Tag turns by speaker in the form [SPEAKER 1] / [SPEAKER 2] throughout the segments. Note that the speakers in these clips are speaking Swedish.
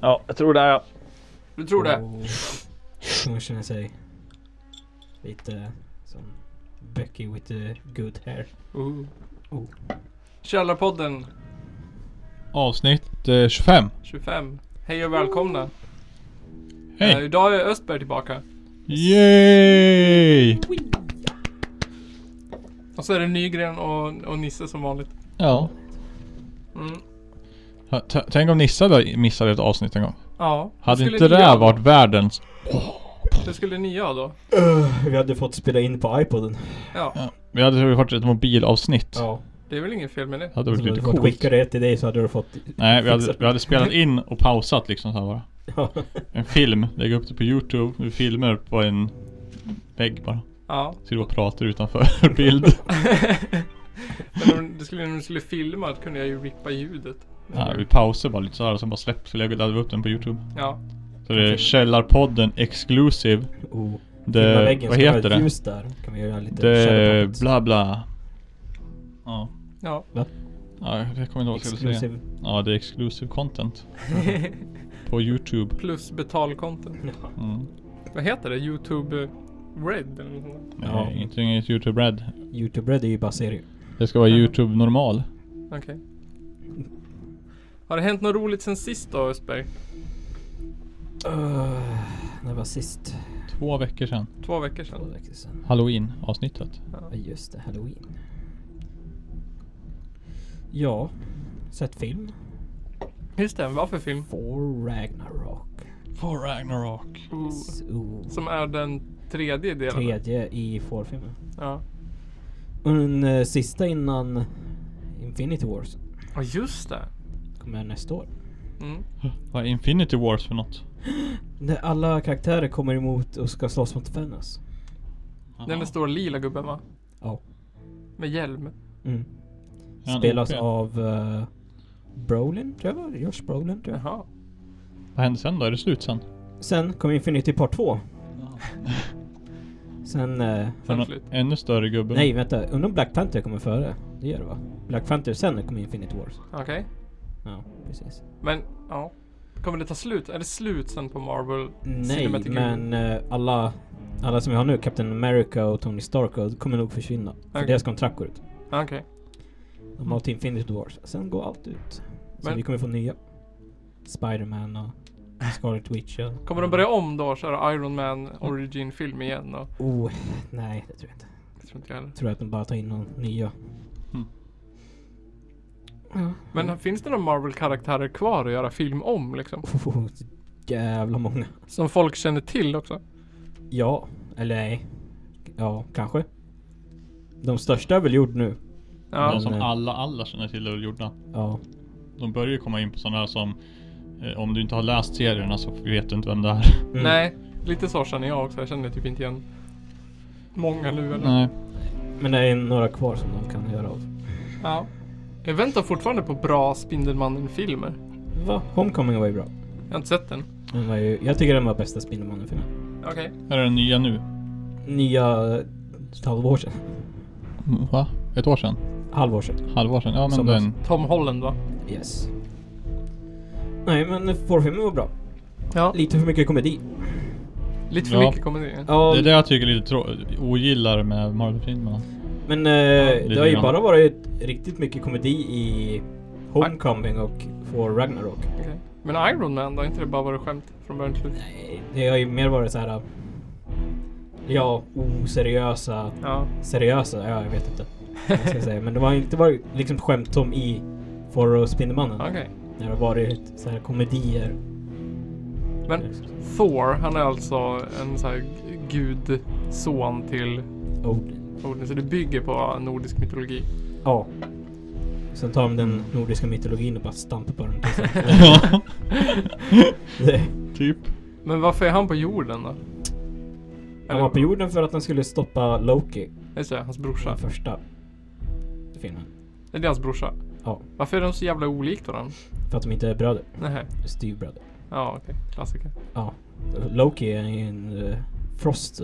[SPEAKER 1] Ja, jag tror det. Är, jag.
[SPEAKER 2] Du tror det?
[SPEAKER 3] Och Oh. hon känner sig lite som Becky with the good hair.
[SPEAKER 2] Oh.
[SPEAKER 3] Oh.
[SPEAKER 2] Källarpodden
[SPEAKER 4] Avsnitt eh, 25.
[SPEAKER 2] 25. Hej och välkomna.
[SPEAKER 4] Hej!
[SPEAKER 2] Eh, idag är Östberg tillbaka.
[SPEAKER 4] Yay!
[SPEAKER 2] Och så är det Nygren och, och Nisse som vanligt.
[SPEAKER 4] Ja.
[SPEAKER 2] Mm.
[SPEAKER 4] Ha- t- Tänk om Nissa hade missat ett avsnitt en gång.
[SPEAKER 2] Ja.
[SPEAKER 4] Hade
[SPEAKER 2] Skulle
[SPEAKER 4] inte
[SPEAKER 2] ni
[SPEAKER 4] det
[SPEAKER 2] göra?
[SPEAKER 4] varit världens...
[SPEAKER 2] Hur skulle ni göra då?
[SPEAKER 3] Öh, vi hade fått spela in på iPoden.
[SPEAKER 2] Ja,
[SPEAKER 4] Ja. Vi hade ju fått ett mobilavsnitt.
[SPEAKER 3] Ja.
[SPEAKER 2] det är väl inget fel med det.
[SPEAKER 4] Det hade
[SPEAKER 3] Så
[SPEAKER 4] varit
[SPEAKER 3] hade
[SPEAKER 4] lite
[SPEAKER 3] du fått
[SPEAKER 4] coolt.
[SPEAKER 3] skicka det till dig så hade du fått...
[SPEAKER 4] Nej, vi hade,
[SPEAKER 3] Fixat.
[SPEAKER 4] vi hade spelat in och pausat liksom så här bara.
[SPEAKER 3] Ja.
[SPEAKER 4] En film. Lägga upp det på Youtube. Vi filmer på en vägg bara.
[SPEAKER 2] Ja.
[SPEAKER 4] Så det bara pratar utanför bild.
[SPEAKER 2] Men om det skulle, om du skulle filma kunde jag ju rippa ljudet.
[SPEAKER 4] Ja, vi pausar bara lite så här och sen bara släpp. Så lägger laddar vi upp den på Youtube.
[SPEAKER 2] Ja.
[SPEAKER 4] Så det är Källarpodden Exclusive.
[SPEAKER 3] Oh. Filma
[SPEAKER 4] Det,
[SPEAKER 3] väggen,
[SPEAKER 4] vad
[SPEAKER 3] ska ha
[SPEAKER 4] heter
[SPEAKER 3] ett
[SPEAKER 4] det?
[SPEAKER 3] ljus där. Kan vi göra lite... shadow
[SPEAKER 4] Det...
[SPEAKER 3] puppets.
[SPEAKER 4] Bla bla. Ja.
[SPEAKER 2] Ja.
[SPEAKER 4] Ja, jag kommer inte ihåg vad jag skulle säga.
[SPEAKER 3] Exclusive.
[SPEAKER 4] Ja, det är exclusive content. På Youtube.
[SPEAKER 2] Plus betalkonten.
[SPEAKER 3] Ja.
[SPEAKER 4] Mm.
[SPEAKER 2] Vad heter det? Youtube eh, Red eller något sånt
[SPEAKER 4] Nej,
[SPEAKER 3] Ja.
[SPEAKER 4] inte inget Youtube Red.
[SPEAKER 3] Youtube Red är ju bara serier.
[SPEAKER 4] Det ska vara
[SPEAKER 2] Mhm.
[SPEAKER 4] Youtube normal.
[SPEAKER 2] där? Okej. Har det hänt något roligt sen sist då Östberg?
[SPEAKER 3] Öh, när var sist?
[SPEAKER 4] Två veckor sedan.
[SPEAKER 2] Två veckor
[SPEAKER 3] Två
[SPEAKER 2] sedan.
[SPEAKER 3] veckor sedan.
[SPEAKER 4] Halloween avsnittet.
[SPEAKER 3] Ja, just det. Halloween. Ja. Sett film.
[SPEAKER 2] Just det, vad för film?
[SPEAKER 3] For Ragnarok.
[SPEAKER 4] For Ragnarok.
[SPEAKER 2] Oh,
[SPEAKER 3] Oh.
[SPEAKER 2] Som är den tredje delen.
[SPEAKER 3] Tredje i Thor-filmen.
[SPEAKER 2] Ja.
[SPEAKER 3] Och den eh, sista innan Infinity Wars.
[SPEAKER 2] Ja just det.
[SPEAKER 3] Kommer nästa år.
[SPEAKER 2] Mm.
[SPEAKER 4] Vad är Infinity Wars för något?
[SPEAKER 3] När alla karaktärer kommer emot och ska slåss mot Thanos.
[SPEAKER 2] Den där stora lila gubben va?
[SPEAKER 3] Ja.
[SPEAKER 2] Med hjälm.
[SPEAKER 3] Mm.
[SPEAKER 4] Är han
[SPEAKER 3] Spelas
[SPEAKER 4] OP?
[SPEAKER 3] av eh, Brolin, tror jag var. Josh Brolin, tror jag.
[SPEAKER 2] Jaha.
[SPEAKER 4] Vad händer sen då? Är det slut sen?
[SPEAKER 3] Sen kom Infinity Part 2. Sen... eh,
[SPEAKER 4] Är det
[SPEAKER 2] Sen
[SPEAKER 4] någon
[SPEAKER 2] slut.
[SPEAKER 4] Ännu större gubbe?
[SPEAKER 3] nej, vänta. Undrar om Black Panther kommer före? Det gör det va? Black Panther, sen kom Infinity Wars.
[SPEAKER 2] Okej.
[SPEAKER 3] Ja, precis.
[SPEAKER 2] Men ja. Kommer det ta slut? Är det slut sen på Marvel?
[SPEAKER 3] Nej,
[SPEAKER 2] Cinematic
[SPEAKER 3] men eh, alla... Alla som vi har nu, Captain America och Tony Stark, och- kommer nog försvinna. För
[SPEAKER 2] Okej.
[SPEAKER 3] deras kontrakt går ut.
[SPEAKER 2] Okej.
[SPEAKER 3] De har till Infinity Wars. Sen går allt ut. Så
[SPEAKER 2] Men-
[SPEAKER 3] vi kommer få nya. Spider-Man och Scarlet Witch och...
[SPEAKER 2] Kommer de börja om då och köra Iron Man Origin film igen? Och,
[SPEAKER 3] Oh, nej det tror jag inte.
[SPEAKER 2] det tror inte jag heller.
[SPEAKER 3] Jag tror att de bara tar in någon nya.
[SPEAKER 4] Mm.
[SPEAKER 3] Ja.
[SPEAKER 2] Men finns det några Marvel-karaktärer kvar att göra film om liksom?
[SPEAKER 3] Oh, så jävla många.
[SPEAKER 2] Som folk känner till också?
[SPEAKER 3] Ja, eller nej. Ja, kanske. De största är väl gjord nu.
[SPEAKER 2] Ja.
[SPEAKER 4] De som
[SPEAKER 3] Men, eh,
[SPEAKER 4] alla, alla känner till är väl gjorda.
[SPEAKER 3] Ja.
[SPEAKER 4] De börjar ju komma in på sådana här som... eh, Om du inte har läst serierna så vet du inte vem det är.
[SPEAKER 3] Mm.
[SPEAKER 2] Nej, lite så känner jag också. Jag känner typ inte igen många nu eller?
[SPEAKER 4] Nej.
[SPEAKER 3] Men det är några kvar som de kan göra av.
[SPEAKER 2] Ja. Jag väntar fortfarande på bra Spindelmannen-filmer.
[SPEAKER 3] Va? Homecoming var ju bra.
[SPEAKER 2] Jag har inte sett den.
[SPEAKER 3] Den var ju, jag tycker den var bästa Spindelmannen-filmen.
[SPEAKER 2] Okej.
[SPEAKER 4] Är det den nya nu?
[SPEAKER 3] Nya... eh, Halvår sedan.
[SPEAKER 4] Va? Ett år sedan?
[SPEAKER 3] Halvår sedan.
[SPEAKER 4] Halvår sedan? Ja men
[SPEAKER 3] Som
[SPEAKER 4] den...
[SPEAKER 2] Tom Holland va?
[SPEAKER 3] Yes. Nej men porrfilmen var bra.
[SPEAKER 2] Ja.
[SPEAKER 3] Lite för mycket komedi.
[SPEAKER 2] Lite för
[SPEAKER 4] Ja.
[SPEAKER 2] mycket komedi.
[SPEAKER 3] Ja,
[SPEAKER 4] Det är det jag tycker är lite trå- ogillar med Marvel-filmerna.
[SPEAKER 3] men eh, det
[SPEAKER 4] lite
[SPEAKER 3] har ju
[SPEAKER 4] grann.
[SPEAKER 3] bara varit riktigt mycket komedi i Homecoming och For Ragnarok.
[SPEAKER 2] Okej. Men Iron Man då? Inte det bara varit skämt från början till slut?
[SPEAKER 3] Nej, Det har ju mer varit så här. Ja, oseriösa.
[SPEAKER 2] Ja.
[SPEAKER 3] Seriösa? Ja, jag vet inte. Vad jag ska säga. Men det har inte varit liksom skämt som i For och Spindelmannen.
[SPEAKER 2] Okej.
[SPEAKER 3] När det har varit så här komedier.
[SPEAKER 2] Men Thor, han är alltså en så här g- gudson till
[SPEAKER 3] Odin.
[SPEAKER 2] Odin. Så det bygger på nordisk mytologi.
[SPEAKER 3] Ja. Sen tar de den nordiska mytologin och bara stampar på den. Det-
[SPEAKER 4] typ.
[SPEAKER 2] Men varför är han på jorden då?
[SPEAKER 3] Han var på jorden för att han skulle stoppa Loki.
[SPEAKER 2] Just det, hans
[SPEAKER 3] Den
[SPEAKER 2] brorsa.
[SPEAKER 3] första filmen.
[SPEAKER 2] Det är hans brorsa.
[SPEAKER 3] Ja.
[SPEAKER 2] Varför är de så jävla olika varandra?
[SPEAKER 3] För att de inte är bröder.
[SPEAKER 2] Nej.
[SPEAKER 3] Styvbröder.
[SPEAKER 2] Ja, okej. Klassiker.
[SPEAKER 3] Ja. Loki är en eh, Frost.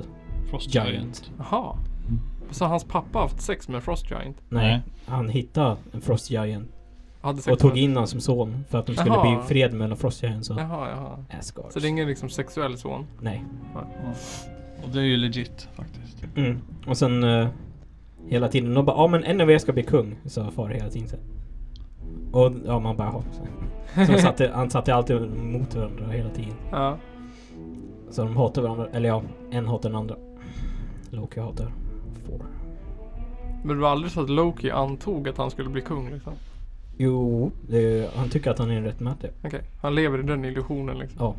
[SPEAKER 4] Frost
[SPEAKER 3] Giant.
[SPEAKER 2] Jaha. Så hans pappa har haft sex med Frost Giant?
[SPEAKER 3] Nej.
[SPEAKER 4] Nej.
[SPEAKER 3] Han hittade en Frost Giant
[SPEAKER 2] Hade sex
[SPEAKER 3] och tog
[SPEAKER 2] med...
[SPEAKER 3] in honom som son för att de skulle
[SPEAKER 2] Jaha.
[SPEAKER 3] bli fred mellan Frost Giants och
[SPEAKER 2] Jaha, jaha.
[SPEAKER 3] Asgard.
[SPEAKER 2] Så det är ingen liksom sexuell son?
[SPEAKER 3] Nej.
[SPEAKER 4] Och det är ju legit faktiskt.
[SPEAKER 3] Mm. Och sen eh, hela tiden, de bara ja men en av er ska bli kung, sa far hela tiden. Så. Och ja, man bara "Ja." så. de satte, han satte alltid mot varandra hela tiden.
[SPEAKER 2] Ja.
[SPEAKER 3] Så de hatar varandra, eller ja, en hatar den andra. Loki hatar Thor.
[SPEAKER 2] Men det var aldrig så att Loki antog att han skulle bli kung liksom?
[SPEAKER 3] Jo, det, han tycker att han är en rättmätig.
[SPEAKER 2] Okej, han lever i den illusionen liksom?
[SPEAKER 3] Ja.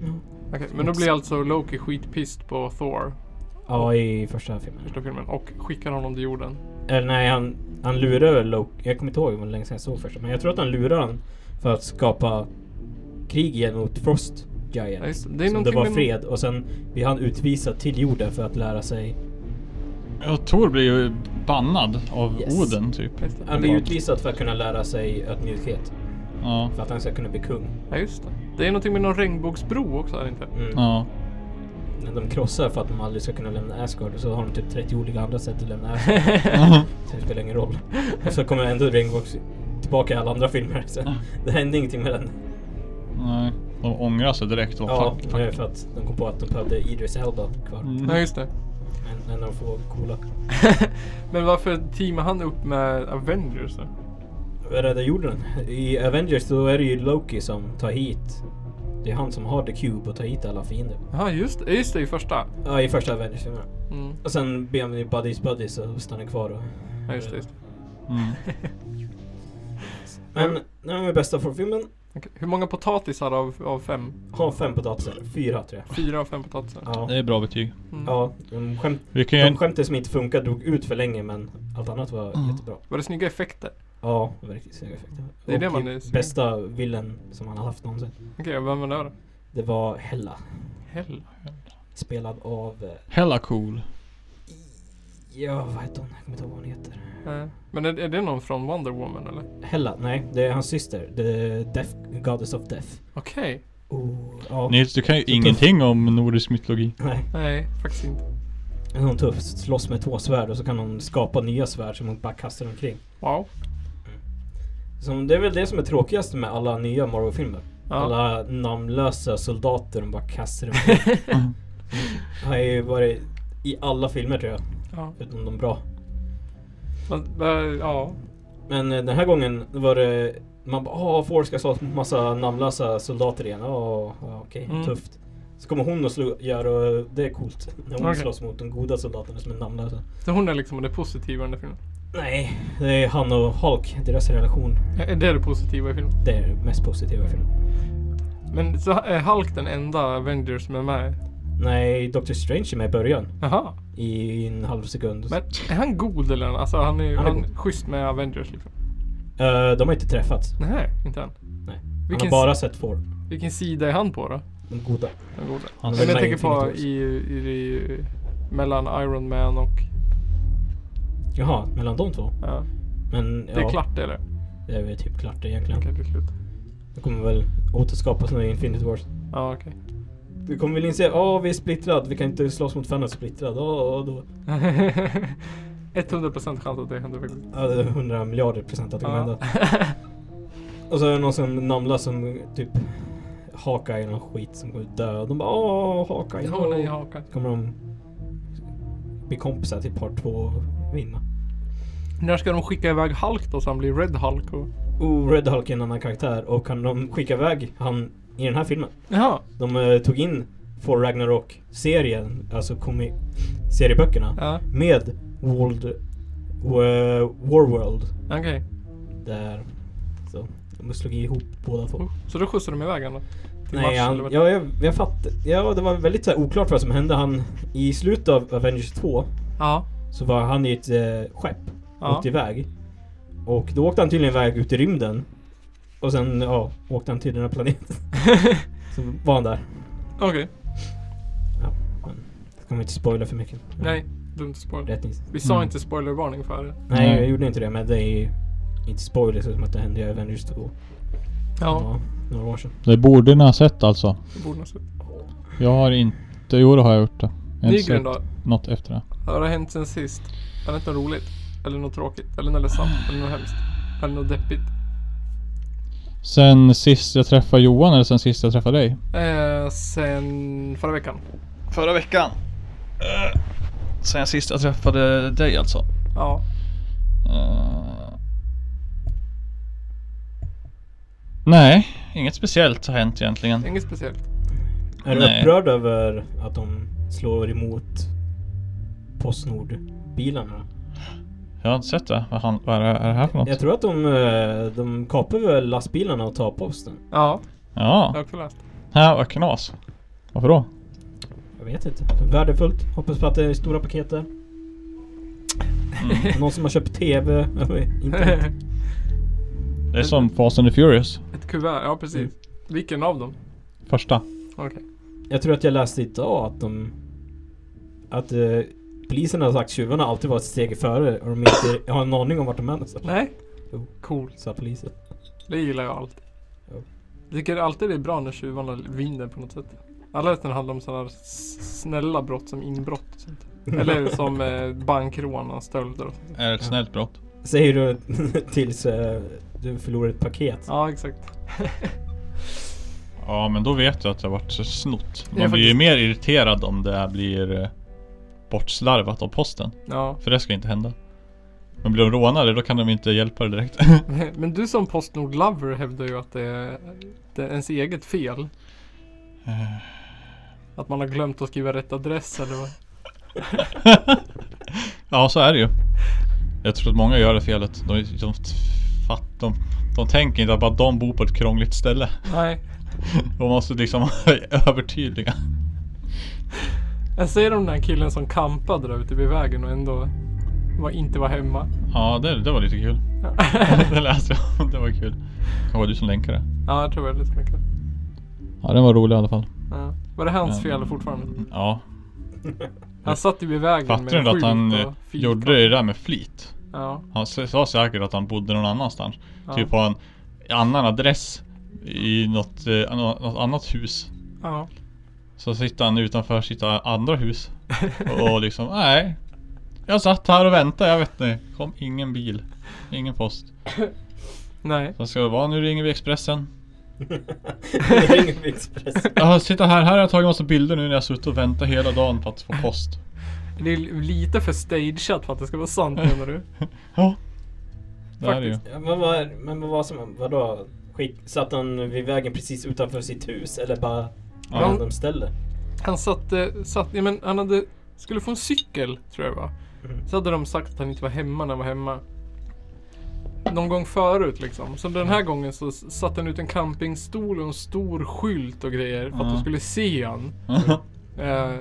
[SPEAKER 3] Ja.
[SPEAKER 2] Okej, men då blir alltså Loki skitpist på Thor,
[SPEAKER 3] Ja, i första filmen.
[SPEAKER 2] första filmen, och skickar honom till jorden.
[SPEAKER 3] Eller nej, han, han lurar Loki. Jag kommer inte ihåg hur länge sedan jag såg första. Men jag tror att han lurar han för att skapa krig gentemot Frost
[SPEAKER 2] Ja,
[SPEAKER 3] Giant.
[SPEAKER 2] just, det. det är
[SPEAKER 3] som det
[SPEAKER 2] någonting
[SPEAKER 3] var
[SPEAKER 2] med-
[SPEAKER 3] fred. Och sen blir han utvisad till jorden för att lära sig.
[SPEAKER 4] Ja, Thor blir ju bannad av
[SPEAKER 3] Yes.
[SPEAKER 4] Oden typ.
[SPEAKER 2] Ja, Just det.
[SPEAKER 3] Han blir utvisad för att kunna lära sig ödmjukhet.
[SPEAKER 4] Ja.
[SPEAKER 3] För att han ska kunna bli kung.
[SPEAKER 2] Ja, just det. Det är någonting med någon regnbågsbro också, är det inte?
[SPEAKER 3] Mm.
[SPEAKER 4] Ja.
[SPEAKER 3] Men de krossar för att de aldrig ska kunna lämna Asgard. Och så har de typ 30 olika andra sätt att lämna Asgard. så det spelar ingen roll. Och så kommer ändå Ringbox tillbaka i alla andra filmer. Så det hände ingenting med den.
[SPEAKER 4] Nej. De ångrar sig direkt. Vad
[SPEAKER 3] Ja,
[SPEAKER 4] fuck.
[SPEAKER 3] det är för att de kom på att de behövde Idris Elba kvar.
[SPEAKER 4] Mm.
[SPEAKER 2] Ja, just det.
[SPEAKER 3] En, en av de få coola.
[SPEAKER 2] Men varför teamar han upp med Avengers då?
[SPEAKER 3] Rädda jorden. I Avengers då är det ju Loki som tar hit. Det är han som har The Cube och tar hit alla fiender.
[SPEAKER 2] Ja, just det. Just det, i första.
[SPEAKER 3] Ja, i första Avengers filmen.
[SPEAKER 2] Mm.
[SPEAKER 3] Och sen blir han ju buddies buddies och stannar kvar. Och...
[SPEAKER 2] Ja, just det. Just det.
[SPEAKER 4] Mm.
[SPEAKER 3] Men den var den bästa för filmen.
[SPEAKER 2] Okej, Hur många potatisar av, av fem?
[SPEAKER 3] Ha fem potatisar. Fyra tror jag.
[SPEAKER 2] Fyra av fem potatisar?
[SPEAKER 3] Ja.
[SPEAKER 4] Det är bra betyg.
[SPEAKER 2] Mm.
[SPEAKER 3] Ja, de, skämt,
[SPEAKER 4] Vi kan
[SPEAKER 3] de
[SPEAKER 4] ju...
[SPEAKER 3] skämten som inte funkar drog ut för länge men allt annat var
[SPEAKER 4] Mm.
[SPEAKER 3] jättebra.
[SPEAKER 2] Var det snygga effekter?
[SPEAKER 3] Ja, verkligen snygga effekter.
[SPEAKER 2] Det är det
[SPEAKER 3] Och
[SPEAKER 2] man är sugen på.
[SPEAKER 3] Bästa villen som han har haft någonsin.
[SPEAKER 2] Okej, vem var det då?
[SPEAKER 3] Det var Hella.
[SPEAKER 2] Hell.
[SPEAKER 3] Spelad av... eh,
[SPEAKER 4] Hella cool.
[SPEAKER 3] Ja, vad heter hon? Jag kommer inte ihåg vad hon heter.
[SPEAKER 2] Eh, Men är, är det någon från Wonder Woman eller?
[SPEAKER 3] Hella, nej. Det är hans syster. The Death, Goddess of Death.
[SPEAKER 2] Okej.
[SPEAKER 3] Oh, ja.
[SPEAKER 4] Nils, du kan ju
[SPEAKER 3] Så tuff.
[SPEAKER 4] ingenting om nordisk mytologi.
[SPEAKER 3] Nej.
[SPEAKER 2] Nej, faktiskt inte.
[SPEAKER 3] Hon är tuff. Slåss med två svärd och så kan hon skapa nya svärd som hon bara kastar omkring.
[SPEAKER 2] Wow.
[SPEAKER 3] Som, det är väl det som är tråkigast med alla nya Marvel-filmer.
[SPEAKER 2] Ja.
[SPEAKER 3] Alla namnlösa soldater de bara kastar omkring. Det har ju varit i alla filmer tror jag.
[SPEAKER 2] ja.
[SPEAKER 3] Utom de bra.
[SPEAKER 2] Men, eh, ja.
[SPEAKER 3] Men eh, den här gången var det man bara ah Ford ska slåss mot massa namnlösa soldater igen. Ja, ja, okej,
[SPEAKER 2] Mm.
[SPEAKER 3] tufft. Så kommer hon och slå, gör och det är coolt. När hon
[SPEAKER 2] Okej.
[SPEAKER 3] slåss mot de goda soldaterna som är namnlösa.
[SPEAKER 2] Så hon är liksom det positiva i den där filmen?
[SPEAKER 3] Nej, det är han och Hulk, deras relation.
[SPEAKER 2] Är Eh, det är det positiva i filmen?
[SPEAKER 3] Det är det mest positiva i filmen.
[SPEAKER 2] Men så är Hulk den enda Avengers som är med?
[SPEAKER 3] Nej, Doctor Strange är med i början.
[SPEAKER 2] Jaha.
[SPEAKER 3] I en halv sekund.
[SPEAKER 2] Men är han god eller? Alltså han är ju
[SPEAKER 3] Han är
[SPEAKER 2] han
[SPEAKER 3] god.
[SPEAKER 2] schysst med Avengers liksom.
[SPEAKER 3] Eh, de har inte träffats.
[SPEAKER 2] Nej, inte han.
[SPEAKER 3] Nej. Han har
[SPEAKER 2] Vilken,
[SPEAKER 3] bara sett Ford.
[SPEAKER 2] vilken sida är han på då?
[SPEAKER 3] De goda.
[SPEAKER 2] Den goda.
[SPEAKER 4] Han
[SPEAKER 2] Men jag
[SPEAKER 3] spelar
[SPEAKER 2] tänker på
[SPEAKER 3] Infinity
[SPEAKER 2] i, i, i, mellan Iron Man och...
[SPEAKER 3] Jaha, mellan de två.
[SPEAKER 2] Ja.
[SPEAKER 3] Men ja,
[SPEAKER 2] Det är klart det eller?
[SPEAKER 3] det är väl typ klart egentligen.
[SPEAKER 2] Okej, det är slut.
[SPEAKER 3] Det kommer väl återskapas nu i Infinity Wars.
[SPEAKER 2] Ja, okej.
[SPEAKER 3] Du kommer väl inse, ja vi är splittrad, vi kan inte slåss mot Thanos splittrad. Ja, ja, då.
[SPEAKER 2] 100% chans att det händer faktiskt.
[SPEAKER 3] Ja, det är 100 miljarder procent att det kommer
[SPEAKER 2] Ja.
[SPEAKER 3] hända. Och så är det någon som namnlös som typ Haka i någon skit som kommer dö. De bara åh, Haka i
[SPEAKER 2] Ja, nej, haka.
[SPEAKER 3] Kommer de bli kompisar till part två och vinna.
[SPEAKER 2] När ska de skicka iväg Hulk då så han blir Red Hulk? Och...
[SPEAKER 3] Oh, Red Hulk är en annan karaktär och kan de skicka iväg han i den här filmen.
[SPEAKER 2] Jaha.
[SPEAKER 3] De eh, tog in For Ragnarok-serien, alltså komi- serieböckerna.
[SPEAKER 2] Ja,
[SPEAKER 3] med World, Wa- Warworld
[SPEAKER 2] okej.
[SPEAKER 3] där så de slog ihop båda två.
[SPEAKER 2] Oh, Så då skjutsar de iväg han då? Till
[SPEAKER 3] Nej,
[SPEAKER 2] Mars
[SPEAKER 3] han,
[SPEAKER 2] eller vart?
[SPEAKER 3] ja, jag, jag fattar. Ja, det var väldigt så här, oklart vad som hände. Han, I slutet av Avengers 2
[SPEAKER 2] Ja.
[SPEAKER 3] så var han i ett eh, skepp och
[SPEAKER 2] Ja.
[SPEAKER 3] åkte iväg. Och då åkte han tydligen iväg ut i rymden. Och sen ja, åkte han till den här planeten. så var han där.
[SPEAKER 2] Okej.
[SPEAKER 3] Ska man inte spoila för mycket.
[SPEAKER 2] Nej, dumt spoiler.
[SPEAKER 3] Rätt
[SPEAKER 2] Vi sa
[SPEAKER 4] Mm.
[SPEAKER 2] inte spoilervarning för det.
[SPEAKER 3] Nej,
[SPEAKER 4] Nej.
[SPEAKER 3] jag gjorde inte det. Men det är ju inte spoilers som att det hände i Avengers 2.
[SPEAKER 2] Ja,
[SPEAKER 3] några år sedan.
[SPEAKER 4] Det borde ni ha sett alltså.
[SPEAKER 2] det borde nog se ut.
[SPEAKER 4] Jag har inte... Jo, det har jag gjort det. Jag har
[SPEAKER 2] Ny
[SPEAKER 4] inte sett
[SPEAKER 2] grund då.
[SPEAKER 4] Något efter det.
[SPEAKER 2] Vad har hänt sen sist? Har det inte något roligt? Eller något tråkigt? Eller något ledsamt? Eller något hemskt? Eller något deppigt?
[SPEAKER 4] Sen sist jag träffade Johan eller sen sist jag träffade dig?
[SPEAKER 2] Eh, sen förra veckan?
[SPEAKER 4] Förra veckan. Eh, sen sist jag träffade dig alltså. Eh.
[SPEAKER 2] Ja.
[SPEAKER 4] Nej, inget speciellt har hänt egentligen.
[SPEAKER 2] Inget speciellt.
[SPEAKER 3] Är du
[SPEAKER 4] Nej.
[SPEAKER 3] upprörd över att de slår emot Postnord-bilarna?
[SPEAKER 4] Jag har inte sett det. Vad, han, vad är, det, är det här för något?
[SPEAKER 3] Jag tror att de, eh, de kapar väl lastbilarna och tar posten.
[SPEAKER 2] Ja, jag har
[SPEAKER 4] Ja,
[SPEAKER 2] också läst.
[SPEAKER 4] ja vad knas. Varför då?
[SPEAKER 3] Jag vet inte. Värdefullt. Hoppas på att det är stora paket där. Någon som har köpt TV över internet.
[SPEAKER 4] Det är som Fast and the Furious.
[SPEAKER 2] Ett kuvert, ja precis. Vilken av dem?
[SPEAKER 4] Första.
[SPEAKER 2] Okej.
[SPEAKER 3] Jag tror att jag läste idag att de... Att eh, polisen har sagt att tjuvarna alltid varit ett steg före och de inte har en aning om vart de är någonstans.
[SPEAKER 2] Nej.
[SPEAKER 3] Jo.
[SPEAKER 2] Coolt.
[SPEAKER 3] Sa polisen.
[SPEAKER 2] Det gillar jag alltid.
[SPEAKER 3] Ja.
[SPEAKER 2] Jag tycker alltid det är bra när tjuvarna vinner på något sätt. Alla vet när det handlar om sådana snälla brott som inbrott och sånt. Eller som eh, bankrån och stölder och sånt.
[SPEAKER 4] Är det ett snällt brott?
[SPEAKER 3] Säger du tills eh, du förlorar ett paket.
[SPEAKER 2] Ja, exakt.
[SPEAKER 4] Ja, men då vet jag att jag varit så snott. Man
[SPEAKER 2] Jag är
[SPEAKER 4] blir ju
[SPEAKER 2] faktiskt-
[SPEAKER 4] mer irriterad om det här blir eh, bortslarvat av posten.
[SPEAKER 2] Ja.
[SPEAKER 4] För det ska inte hända. Men blir de rånade då kan de inte hjälpa dig direkt.
[SPEAKER 2] Men du som Postnord-lover hävdar ju att det är, det är ens eget fel. Att man har glömt att skriva rätt adress eller vad?
[SPEAKER 4] ja, så är det ju. Jag tror att många gör det felet. De, de, fatt, de, de tänker inte att bara de bor på ett krångligt ställe.
[SPEAKER 2] Nej.
[SPEAKER 4] De måste liksom vara övertydliga.
[SPEAKER 2] Jag ser om den här killen som kampade där ute vid vägen och ändå var, inte var hemma.
[SPEAKER 4] Ja, det, det var lite kul.
[SPEAKER 2] Ja,
[SPEAKER 4] det läste jag om. Det var kul. Kanske var du som länkade det.
[SPEAKER 2] ja jag tror väl det som är kul.
[SPEAKER 4] Ja, den var rolig i alla fall.
[SPEAKER 2] Ja. Var det hans
[SPEAKER 4] Mm.
[SPEAKER 2] fel fortfarande?
[SPEAKER 4] Ja.
[SPEAKER 2] Han satt ju vid vägen
[SPEAKER 4] Fattar
[SPEAKER 2] med
[SPEAKER 4] du
[SPEAKER 2] en
[SPEAKER 4] inte att
[SPEAKER 2] skylt
[SPEAKER 4] han
[SPEAKER 2] och
[SPEAKER 4] eh,
[SPEAKER 2] fyrkant.
[SPEAKER 4] gjorde det där med flit?
[SPEAKER 2] Ja.
[SPEAKER 4] Han s- sa säkert att han bodde någon annanstans.
[SPEAKER 2] Ja.
[SPEAKER 4] Typ på en annan adress i något, eh, nå- något annat hus.
[SPEAKER 2] ja.
[SPEAKER 4] Så sitter han utanför sitt andra hus och, och liksom, nej. Jag satt här och väntade, jag vet inte. Kom ingen bil. Ingen post.
[SPEAKER 2] Nej.
[SPEAKER 4] Så ska det vara, nu ringer vi Expressen.
[SPEAKER 3] Det ringer på Express.
[SPEAKER 4] Jag har- sitter här, här har jag tagit massa bilder nu när jag suttit och väntat hela dagen på att få post.
[SPEAKER 2] Det är lite för stageat för att det ska vara sant menar du?
[SPEAKER 4] Ja. Det är det ju.
[SPEAKER 2] Faktiskt.
[SPEAKER 3] Ja, Men vad, men vad var som, vadå? Skick, satt han vid vägen precis utanför sitt hus eller bara
[SPEAKER 4] Ja.
[SPEAKER 3] random ställe?
[SPEAKER 2] Han satt, eh, satt ja, men han hade, skulle få en cykel tror jag det var. Så hade de sagt att han inte var hemma när han var hemma. Någon gång förut liksom. Så den
[SPEAKER 4] Mm.
[SPEAKER 2] här gången så s- satte han ut en campingstol och en stor skylt och grejer för att de
[SPEAKER 4] Ja.
[SPEAKER 2] skulle se han. Eh,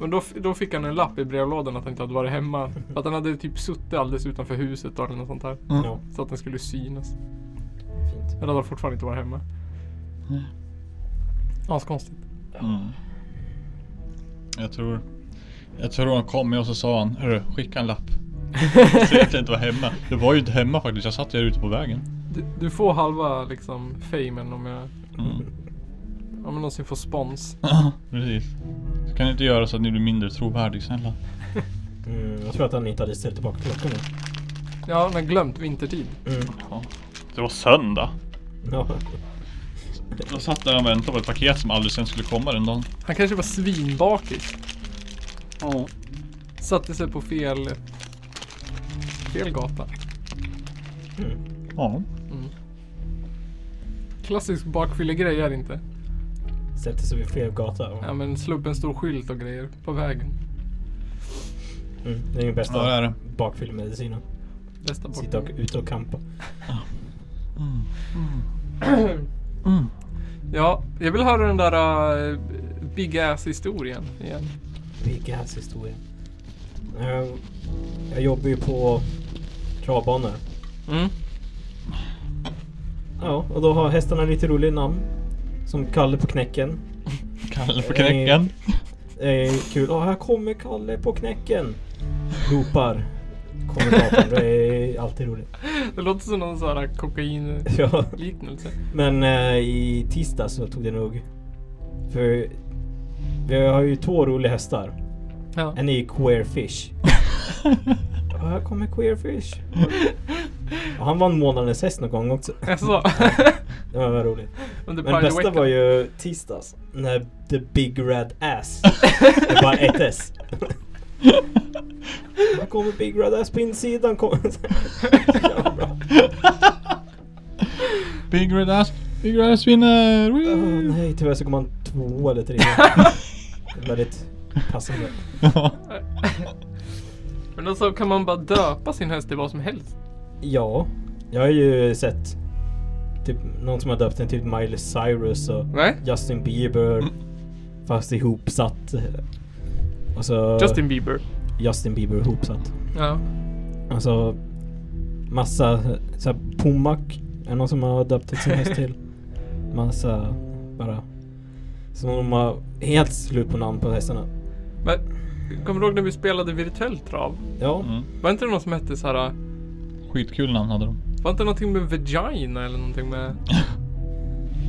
[SPEAKER 2] men då, f- då fick han en lapp i brevlådan att han inte hade varit hemma. För att han hade typ suttit alldeles utanför huset då, eller något sånt där.
[SPEAKER 3] Ja,
[SPEAKER 2] Så att den skulle synas.
[SPEAKER 3] fint.
[SPEAKER 2] Eller hade han fortfarande inte varit hemma.
[SPEAKER 4] Mm.
[SPEAKER 2] Askonstigt.
[SPEAKER 4] Mm. Jag tror... Jag tror han kom med och så sa han, hörru, skicka en lapp. Så jag inte var hemma. Du var ju inte hemma faktiskt, jag satt ju här ute på vägen.
[SPEAKER 2] Du, du får halva liksom famen om jag,
[SPEAKER 4] Mm.
[SPEAKER 2] om jag någonsin får spons.
[SPEAKER 4] Precis. Så kan du inte göra så att ni blir mindre trovärdig, snälla.
[SPEAKER 3] Mm, jag tror att han inte hade ställt tillbaka klockan nu.
[SPEAKER 2] Ja, han har glömt vintertid.
[SPEAKER 3] Mm.
[SPEAKER 4] Det var söndag.
[SPEAKER 3] Ja.
[SPEAKER 4] Jag satt där och väntade på ett paket som aldrig sen skulle komma den dagen.
[SPEAKER 2] Han kanske var svinbakis.
[SPEAKER 4] Ja.
[SPEAKER 2] Satte sig på fel... Fel gata. Mm.
[SPEAKER 3] Mm.
[SPEAKER 4] Ja.
[SPEAKER 2] Klassisk bakfyllegrej är det inte.
[SPEAKER 3] Sätter sig vid fel gata. Och,
[SPEAKER 2] Ja men slå upp en stor skylt och grejer på vägen.
[SPEAKER 3] mm, det är den bästa
[SPEAKER 4] Ja, det är det.
[SPEAKER 3] bakfyllemedicinen.
[SPEAKER 2] Bästa
[SPEAKER 3] Sitta och,
[SPEAKER 2] bak.
[SPEAKER 3] ute och kampa.
[SPEAKER 2] Ja, jag vill höra den där äh, Big Ass historien igen.
[SPEAKER 3] Big ass historia. Eh, Jag jobbar ju på travbanor.
[SPEAKER 2] Mm.
[SPEAKER 3] Ja, och då har hästarna lite roliga namn. Som Kalle på knäcken.
[SPEAKER 4] Kalle på knäcken.
[SPEAKER 3] Eh, kul. Åh, här kommer Kalle på knäcken. Ropar kommentatorn. Det är alltid roligt.
[SPEAKER 2] Det låter som någon sån här kokainliknelse.
[SPEAKER 3] Ja. Men eh, i tisdag så tog det nog. För vi har ju två roliga hästar.
[SPEAKER 2] Ja.
[SPEAKER 3] En ny Queer Fish. Eh. Och här kommer Queer Fish. Och han vann månadens häst någon gång också.
[SPEAKER 2] Jaså?
[SPEAKER 3] Det var väldigt roligt.
[SPEAKER 2] Under
[SPEAKER 3] Men det
[SPEAKER 2] Pride
[SPEAKER 3] bästa
[SPEAKER 2] Weekend.
[SPEAKER 3] var ju tisdags. När The Big Red Ass. Det var bara ett S. Här kommer Big Red Ass på insidan. Kom. Ja, bra.
[SPEAKER 4] Big Red Ass, Big Red Ass vinner!
[SPEAKER 3] Åh,
[SPEAKER 4] Woo!
[SPEAKER 3] nej, tyvärr så kom han två eller tre. Det är väldigt passande.
[SPEAKER 2] Men alltså kan man bara döpa sin häst till vad som helst?
[SPEAKER 3] Ja, jag har ju sett typ någon som har döpt den typ Miley Cyrus och
[SPEAKER 2] Nej? Mm.
[SPEAKER 3] Justin Bieber. Fast ihopsatt. Och så
[SPEAKER 2] Justin Bieber.
[SPEAKER 3] Justin Bieber ihopsatt.
[SPEAKER 2] Ja.
[SPEAKER 3] Alltså massa så här, Pomak är någon som har döpt sin häst till. Massa bara. Så de har helt slut på namn på hästarna.
[SPEAKER 2] Men kommer du ihåg när vi spelade virtuell trav?
[SPEAKER 3] Ja,
[SPEAKER 4] Mm.
[SPEAKER 2] Var inte det någon som hette så här. äh,
[SPEAKER 4] Skitkul namn hade de.
[SPEAKER 2] Var inte det någonting med vagina eller någonting med...
[SPEAKER 3] eh,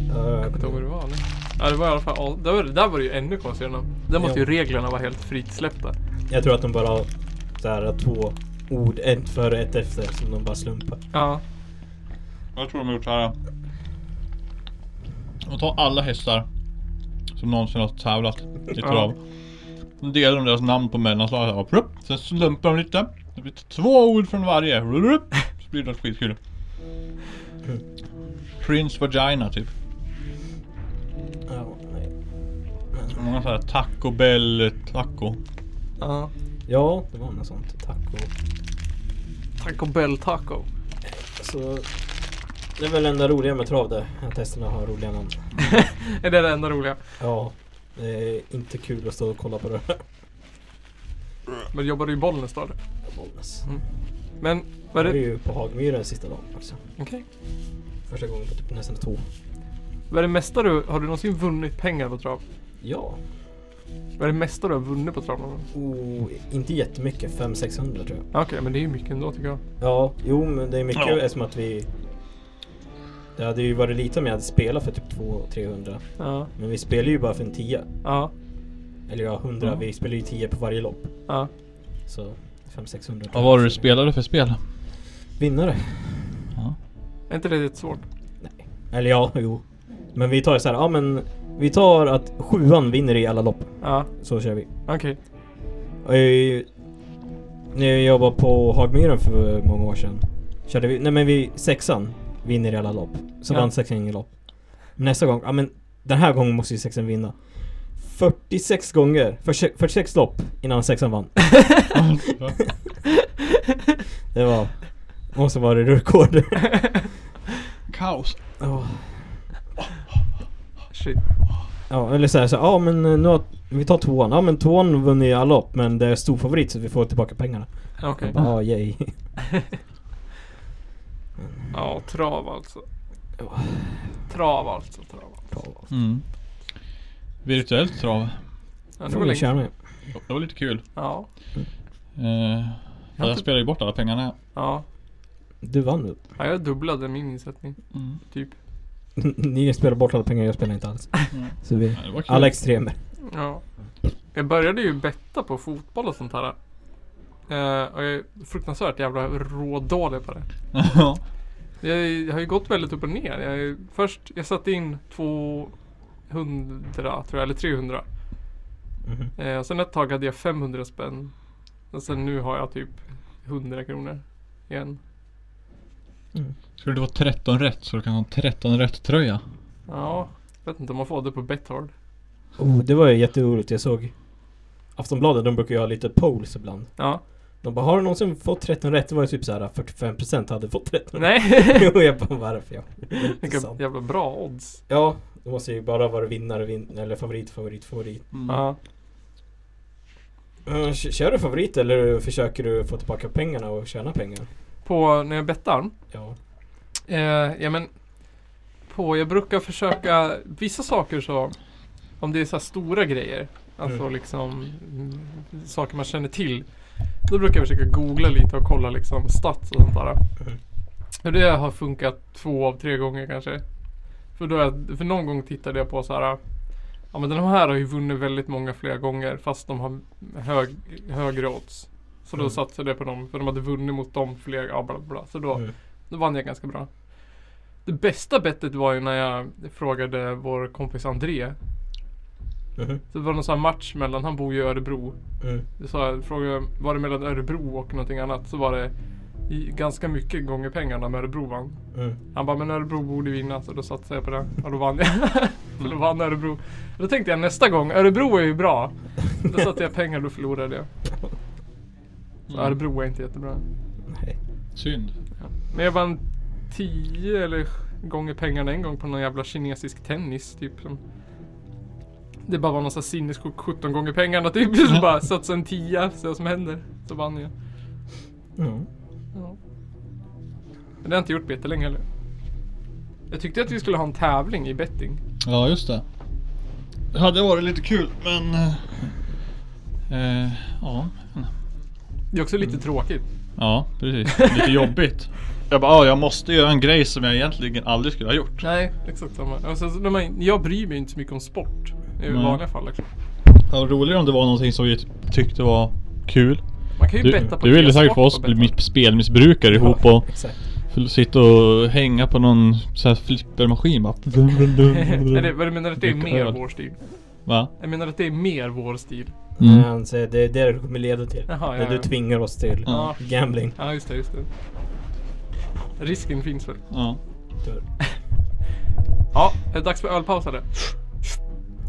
[SPEAKER 2] Jag kommer inte ihåg vad det var nu. Ja det var i alla fall... ja, Det var, det där var det ju ännu konstigare namn. Där måste
[SPEAKER 3] Ja.
[SPEAKER 2] ju reglerna vara helt frisläppta.
[SPEAKER 3] jag tror att de bara har så här, två ord, ett före och ett efter som de bara slumpar.
[SPEAKER 2] Ja.
[SPEAKER 4] Jag tror de har gjort så här. De tar alla hästar som någonsin har tävlat i trav. De delar de deras namn på mellanslaget. här. Plupp. Sen slumpar de lite. Det blir två ord från varje. Plupp. Så blir det något skitkul. Prince Vagina typ.
[SPEAKER 3] Ja, nej.
[SPEAKER 4] Många såhär Taco Bell Taco.
[SPEAKER 2] Ja.
[SPEAKER 3] ja, det var något sånt. Tack och...
[SPEAKER 2] Taco Bell Taco.
[SPEAKER 3] Så, Alltså, det är väl det enda roliga med trav det, att hästarna har roliga namn.
[SPEAKER 2] Är det det enda roliga?
[SPEAKER 3] Ja, det är inte kul att stå och kolla på det här.
[SPEAKER 2] Men jobbar du i Bollnäs då? eller?
[SPEAKER 3] Bollnäs.
[SPEAKER 2] Men
[SPEAKER 3] Jag
[SPEAKER 2] vad är
[SPEAKER 3] var
[SPEAKER 2] det...
[SPEAKER 3] ju på Hagmyren sista dagen också.
[SPEAKER 2] Okej.
[SPEAKER 3] Första gången på typ nästan två.
[SPEAKER 2] Vad är det mesta du... Har du någonsin vunnit pengar på trav?
[SPEAKER 3] Ja,
[SPEAKER 2] Vad är det mesta du har vunnit på trav någon gång?
[SPEAKER 3] oh, inte jättemycket. 500-600 tror jag.
[SPEAKER 2] Ja, Okej, men det är ju mycket ändå tycker jag.
[SPEAKER 3] Ja, jo men det är mycket
[SPEAKER 4] Ja.
[SPEAKER 3] eftersom att vi... Det hade ju varit lite om jag hade spelat för typ 200-300.
[SPEAKER 2] Ja.
[SPEAKER 3] Men vi spelar ju bara för en 10.
[SPEAKER 2] Ja.
[SPEAKER 3] Eller ja, 100.
[SPEAKER 4] Ja.
[SPEAKER 3] Vi spelar ju 10 på varje lopp.
[SPEAKER 2] Ja.
[SPEAKER 3] Så 500-600.
[SPEAKER 4] Vad var det du spelade för spel?
[SPEAKER 3] Vinnare.
[SPEAKER 2] Är inte det lite svårt?
[SPEAKER 3] Eller ja, jo. Men vi tar så här, ja men vi tar att sjuan vinner i alla lopp.
[SPEAKER 2] Ja.
[SPEAKER 3] Så kör vi.
[SPEAKER 2] Okej.
[SPEAKER 3] Och jag, när jag jobbade på Hagmyren för många år sedan. Körde vi, nej men vi, sexan vinner i alla lopp. Så
[SPEAKER 2] Ja.
[SPEAKER 3] vann sexan inget lopp. Nästa gång, ja men den här gången måste ju sexan vinna. 46 gånger, 40 46 lopp innan sexan vann. Det var, måste vara det rekord.
[SPEAKER 4] Kaos.
[SPEAKER 3] Ja.
[SPEAKER 2] Shit.
[SPEAKER 3] Ja, eller såhär, så, ja men eh, nu har, vi tar tvåan. Ja men tvåan har vunnit alla lopp men det är stor favorit så vi får tillbaka pengarna.
[SPEAKER 2] Ja, Okej.
[SPEAKER 3] Jag bara, Ja, yay.
[SPEAKER 2] Ja, trav alltså.
[SPEAKER 3] Ja.
[SPEAKER 2] Trav alltså. Trav.
[SPEAKER 3] Bra.
[SPEAKER 4] Mm. Virtuellt trav.
[SPEAKER 2] Ja, det var
[SPEAKER 3] Får vi
[SPEAKER 2] länge.
[SPEAKER 3] köra
[SPEAKER 2] sedan.
[SPEAKER 3] med.
[SPEAKER 4] Det var lite kul.
[SPEAKER 2] Ja.
[SPEAKER 4] Eh,
[SPEAKER 2] Jag har
[SPEAKER 4] jag
[SPEAKER 2] inte-
[SPEAKER 4] spelade ju bort alla pengarna.
[SPEAKER 2] Ja.
[SPEAKER 3] Du vann nu.
[SPEAKER 2] ja, jag dubblade min insättning. Typ.
[SPEAKER 3] Ni spelar bort alla pengar, jag spelar inte alls.
[SPEAKER 4] Mm.
[SPEAKER 3] Så vi,
[SPEAKER 4] Ja, det var kul.
[SPEAKER 3] alla extremer.
[SPEAKER 2] Ja. Jag började ju betta på fotboll och sånt här. Eh, och jag är fruktansvärt jävla rådålig på det.
[SPEAKER 4] Ja.
[SPEAKER 2] Jag, jag har ju gått väldigt upp och ner. Jag, är- först, jag satte in 200 tror jag, eller 300.
[SPEAKER 3] Mhm.
[SPEAKER 2] Eh, sen ett tag hade jag 500 spänn. Och sen nu har jag typ 100 kronor igen.
[SPEAKER 4] Skulle det vara 13 rätt så du kan ha en 13 rätt tröja.
[SPEAKER 2] Ja, vet inte om man får det på Bethard.
[SPEAKER 3] Oh, det var ju jätteroligt. Jag såg Aftonbladet, de brukar ju ha lite polls ibland.
[SPEAKER 2] Ja.
[SPEAKER 3] De bara, har du någonsin fått 13 rätt? Det var ju typ såhär 45% hade fått 13 rätt.
[SPEAKER 2] Nej.
[SPEAKER 3] Jo, jag bara, varför? Ja.
[SPEAKER 2] Vilka
[SPEAKER 3] sant.
[SPEAKER 2] jävla bra odds.
[SPEAKER 3] ja, det måste ju bara vara vinnare, vin eller favorit, favorit, favorit.
[SPEAKER 2] Ja.
[SPEAKER 3] Eh, k- Kör du favorit eller försöker du få tillbaka pengarna och tjäna pengar?
[SPEAKER 2] På när jag bettar.
[SPEAKER 3] Ja.
[SPEAKER 2] Eh, ja men. På, jag brukar försöka vissa saker så. Om det är så här stora grejer. Alltså
[SPEAKER 3] Mm.
[SPEAKER 2] liksom mm, saker man känner till. Då brukar jag försöka googla lite och kolla liksom stats och sånt där.
[SPEAKER 3] Mm.
[SPEAKER 2] Och det har funkat två av tre gånger kanske. För, då har jag, för någon gång tittade jag på så här. Ja men den här har ju vunnit väldigt många fler gånger fast de har hög, högre odds. Så då
[SPEAKER 3] Mm.
[SPEAKER 2] satsade jag på dem för de hade vunnit mot dem fler, ja bla bla. Så då,
[SPEAKER 3] Mm.
[SPEAKER 2] då vann jag ganska bra. Det bästa bettet var ju när jag frågade vår kompis André.
[SPEAKER 3] Mhm.
[SPEAKER 2] Så det var någon sån här match mellan, han bor ju i Örebro.
[SPEAKER 3] Mm.
[SPEAKER 2] Så jag frågade, var det mellan Örebro och någonting annat? Så var det i, ganska mycket gånger pengarna med Örebro vann.
[SPEAKER 3] Mm.
[SPEAKER 2] Han bara, men Örebro borde vinna så då satsade jag på det. Och då vann jag. Så då vann Örebro. Då tänkte jag nästa gång, Örebro är ju bra. Då satte jag pengar och då förlorade jag. Så
[SPEAKER 4] Mm.
[SPEAKER 2] Örebro är inte jättebra.
[SPEAKER 3] Nej.
[SPEAKER 4] Synd.
[SPEAKER 2] Men jag vann 10 eller gånger pengarna en gång på någon jävla kinesisk tennis typ. Som det bara var någon sån här sinnessjuk 17 gånger pengarna typ. Så bara satsa en tia, se vad som händer. Så vann jag.
[SPEAKER 3] Ja.
[SPEAKER 2] Ja. Men det har jag inte gjort på jättelänge heller. Jag tyckte att vi skulle ha en tävling i betting.
[SPEAKER 4] Ja, just det. Det hade varit lite kul, men... eh, Eh, ja.
[SPEAKER 2] Det är också lite
[SPEAKER 4] Mm.
[SPEAKER 2] tråkigt.
[SPEAKER 4] Ja, precis. Lite jobbigt. Jag bara, ah, jag måste göra en grej som jag egentligen aldrig skulle ha gjort.
[SPEAKER 2] Nej, exakt samma. Alltså, så när man, jag bryr mig inte så mycket om sport i
[SPEAKER 4] Nej.
[SPEAKER 2] vanliga fall. Liksom.
[SPEAKER 4] Det var roligare om det var någonting som vi tyckte var kul.
[SPEAKER 2] Man kan ju
[SPEAKER 4] Du,
[SPEAKER 2] betta på
[SPEAKER 4] du ville
[SPEAKER 2] e-sport
[SPEAKER 4] säkert få oss
[SPEAKER 2] och
[SPEAKER 4] att bli
[SPEAKER 2] betta.
[SPEAKER 4] mis- spelmissbrukare ihop
[SPEAKER 3] Ja,
[SPEAKER 4] och
[SPEAKER 3] Exakt.
[SPEAKER 4] f- sitta och hänga på någon sån här flippermaskin bara.
[SPEAKER 2] Nej, det, vad du menar att det är
[SPEAKER 4] Dricka
[SPEAKER 2] mer
[SPEAKER 4] öl.
[SPEAKER 2] vår stil?
[SPEAKER 4] Va?
[SPEAKER 2] Jag menar att det är mer vår stil.
[SPEAKER 3] Mm.
[SPEAKER 4] Mm.
[SPEAKER 3] Han säger, det är det det kommer leda till.
[SPEAKER 2] Jaha,
[SPEAKER 3] när
[SPEAKER 2] ja,
[SPEAKER 3] du
[SPEAKER 2] ja.
[SPEAKER 3] tvingar oss till
[SPEAKER 2] Ja.
[SPEAKER 3] gambling.
[SPEAKER 2] Ja, just det, just det. Risken finns väl.
[SPEAKER 4] Ja.
[SPEAKER 3] Dör.
[SPEAKER 2] Ja, är det dags för ölpaus eller?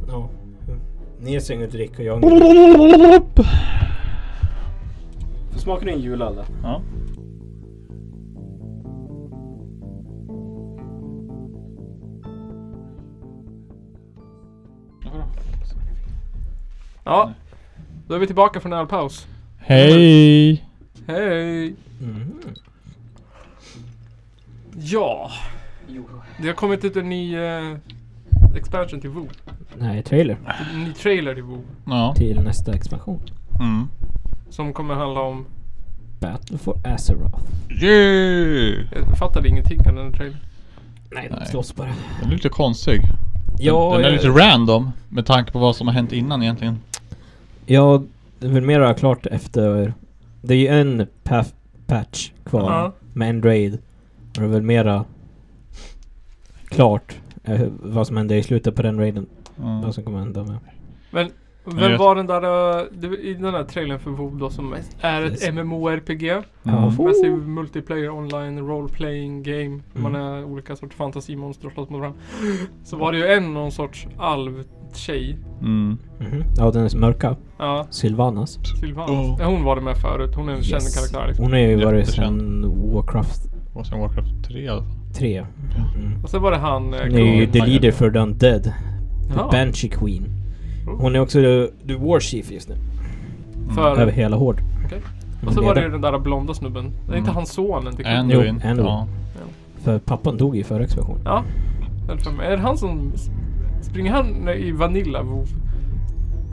[SPEAKER 3] Ja. Mm. Nils har inget drick och jag Smakar du en jul alla?
[SPEAKER 4] Ja.
[SPEAKER 2] Ja. Då är vi tillbaka från ölpaus.
[SPEAKER 4] Hej!
[SPEAKER 2] Hej!
[SPEAKER 3] Mm.
[SPEAKER 2] Ja. Det har kommit ut en ny eh, expansion till WoW.
[SPEAKER 3] Nej, trailer.
[SPEAKER 2] En ny trailer till WoW.
[SPEAKER 4] Ja.
[SPEAKER 3] Till nästa expansion.
[SPEAKER 4] Mm.
[SPEAKER 2] Som kommer handla om...
[SPEAKER 3] Battle for Azeroth.
[SPEAKER 4] Yeah!
[SPEAKER 2] Jag fattade ingenting av den här trailern.
[SPEAKER 3] Nej,
[SPEAKER 4] Nej.
[SPEAKER 3] de slåss bara.
[SPEAKER 4] Den är lite konstig.
[SPEAKER 3] Ja,
[SPEAKER 4] den är
[SPEAKER 3] jag-
[SPEAKER 4] lite random med tanke på vad som har hänt innan egentligen.
[SPEAKER 3] Ja, det är väl mer klart efter... Det är ju en paf- patch kvar
[SPEAKER 2] Ja.
[SPEAKER 3] med en raid. Och det är väl mera klart eh, vad som händer i slutet på den raiden.
[SPEAKER 4] Mm.
[SPEAKER 3] Vad som kommer hända med...
[SPEAKER 2] Men vem
[SPEAKER 4] vet-
[SPEAKER 2] var den där eh, det- i den där trailern för WoW då som är ett
[SPEAKER 3] Yes.
[SPEAKER 2] MMORPG?
[SPEAKER 4] Mm.
[SPEAKER 3] Ja.
[SPEAKER 2] Med sig multiplayer online role playing game. Man
[SPEAKER 3] Mm.
[SPEAKER 2] är olika sorts fantasimonster och slåss mot varandra. Så var det ju en någon sorts alvtjej.
[SPEAKER 4] Mm.
[SPEAKER 3] Mhm. Ja, den är mörka.
[SPEAKER 2] Ja,
[SPEAKER 3] Sylvanas.
[SPEAKER 2] Sylvanas.
[SPEAKER 4] Oh.
[SPEAKER 2] Ja, Hon var det med förut. Hon är en känd karaktär liksom.
[SPEAKER 3] Hon har ju varit
[SPEAKER 4] Jättekänd.
[SPEAKER 3] sedan Warcraft
[SPEAKER 4] Och sen Warcraft 3 i alla fall.
[SPEAKER 3] 3. Mm.
[SPEAKER 2] Och sen var det han... eh,
[SPEAKER 3] Hon är ju
[SPEAKER 2] Conan.
[SPEAKER 3] the leader för the undead. The
[SPEAKER 2] Ja,
[SPEAKER 3] Banshee Queen.
[SPEAKER 2] Oh.
[SPEAKER 3] Hon är också the, the war chief just nu.
[SPEAKER 4] Mm.
[SPEAKER 2] för,
[SPEAKER 3] Över hela Hord.
[SPEAKER 2] Okej.
[SPEAKER 3] Hon
[SPEAKER 2] Och så
[SPEAKER 3] är
[SPEAKER 2] var det ju
[SPEAKER 3] ledare.
[SPEAKER 2] den där blonda snubben. Det är inte
[SPEAKER 4] Mm.
[SPEAKER 2] hans son inte kul.
[SPEAKER 3] Jo,
[SPEAKER 4] Anduin.
[SPEAKER 3] Anduin.
[SPEAKER 4] Ja.
[SPEAKER 3] För pappan dog i förra expansionen.
[SPEAKER 2] Ja. Eller för mig. Är det han som... Springer han eh, i Vanilla WoW?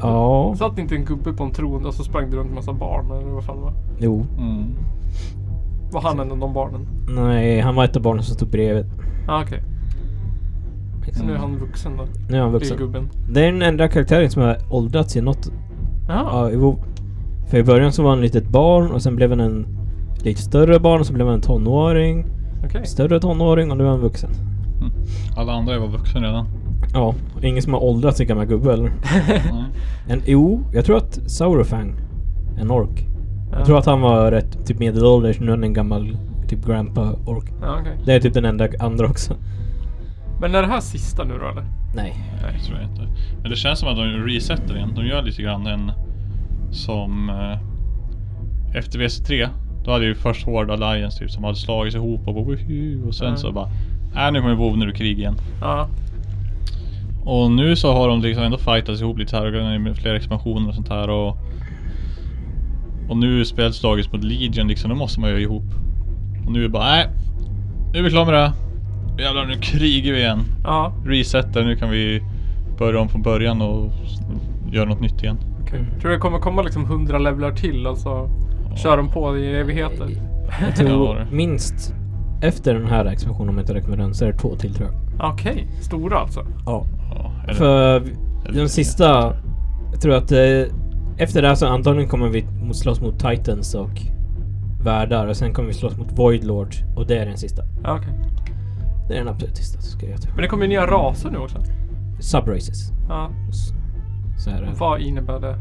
[SPEAKER 3] Ja.
[SPEAKER 2] Satt inte en gubbe på en tron och så sprang det runt en massa barn eller vad fan det var?
[SPEAKER 3] Jo.
[SPEAKER 4] Mm.
[SPEAKER 2] Var han en av de barnen?
[SPEAKER 3] Nej, han var ett av barnen som stod bredvid.
[SPEAKER 2] Ah, okej. Så nu är
[SPEAKER 4] Mm.
[SPEAKER 2] han vuxen då?
[SPEAKER 3] Nu är han
[SPEAKER 2] Vuxen.
[SPEAKER 3] vuxen.
[SPEAKER 2] gubben.
[SPEAKER 3] Det är den enda karaktären som har åldrats i något.
[SPEAKER 2] Jaha.
[SPEAKER 3] Ja, i WoW. För i början så var han ett litet barn och sen blev han en lite större barn och så blev han en tonåring.
[SPEAKER 2] Okej.
[SPEAKER 3] Större tonåring och nu är han vuxen.
[SPEAKER 4] Alla andra var vuxna redan.
[SPEAKER 3] Ja, ingen som har åldrats i gammal gubbe eller?
[SPEAKER 4] Mm.
[SPEAKER 3] En, jo, jag tror att Saurofang, en ork.
[SPEAKER 2] Ja.
[SPEAKER 3] Jag tror att han var rätt typ medelålders, nu är han en gammal typ grandpa ork.
[SPEAKER 2] Ja, okej.
[SPEAKER 3] Det är typ den enda andra också.
[SPEAKER 2] Men är det här sista nu då eller?
[SPEAKER 3] Nej.
[SPEAKER 4] Nej, det tror jag inte. Men det känns som att de resetar igen. De gör lite grann en som eh, efter VC3. Då hade ju först Hård Alliance typ som hade slagits ihop och, bara, "Woho", och sen
[SPEAKER 2] Ja.
[SPEAKER 4] så bara Nej nu kommer WoW nu är det krig igen.
[SPEAKER 2] Ja.
[SPEAKER 4] Och nu så har de liksom ändå fightats ihop lite här och grejer med flera expansioner och sånt här och Och nu är spelslaget mot Legion liksom, det måste man ju göra ihop. Och nu är det bara nej Nu är vi klara med det här. Jävlar nu krigar vi igen
[SPEAKER 2] Ja.
[SPEAKER 4] resetta, nu kan vi börja om från början och s- göra något nytt igen.
[SPEAKER 2] Okej. Tror du det kommer komma liksom hundra levlar till och så kör de på i evigheter?
[SPEAKER 3] Jag
[SPEAKER 4] Ja,
[SPEAKER 3] tror
[SPEAKER 4] det.
[SPEAKER 3] minst efter den här expansionen, om jag inte räknar med den, så är det två till tror jag.
[SPEAKER 2] Okej. Stora alltså?
[SPEAKER 3] Ja.
[SPEAKER 4] Ja, eller,
[SPEAKER 3] För Den sista, jag tror att eh, efter det här så antagligen kommer vi mot- slåss mot Titans och värdar och sen kommer vi slåss mot Void Lord och det är den sista.
[SPEAKER 2] Ja, okej.
[SPEAKER 3] Det är den absolut sista så ska jag göra.
[SPEAKER 2] Men det kommer ju nya raser nu också.
[SPEAKER 3] Subraces.
[SPEAKER 2] Ja.
[SPEAKER 3] S- Så här, eh,
[SPEAKER 2] Vad innebär det?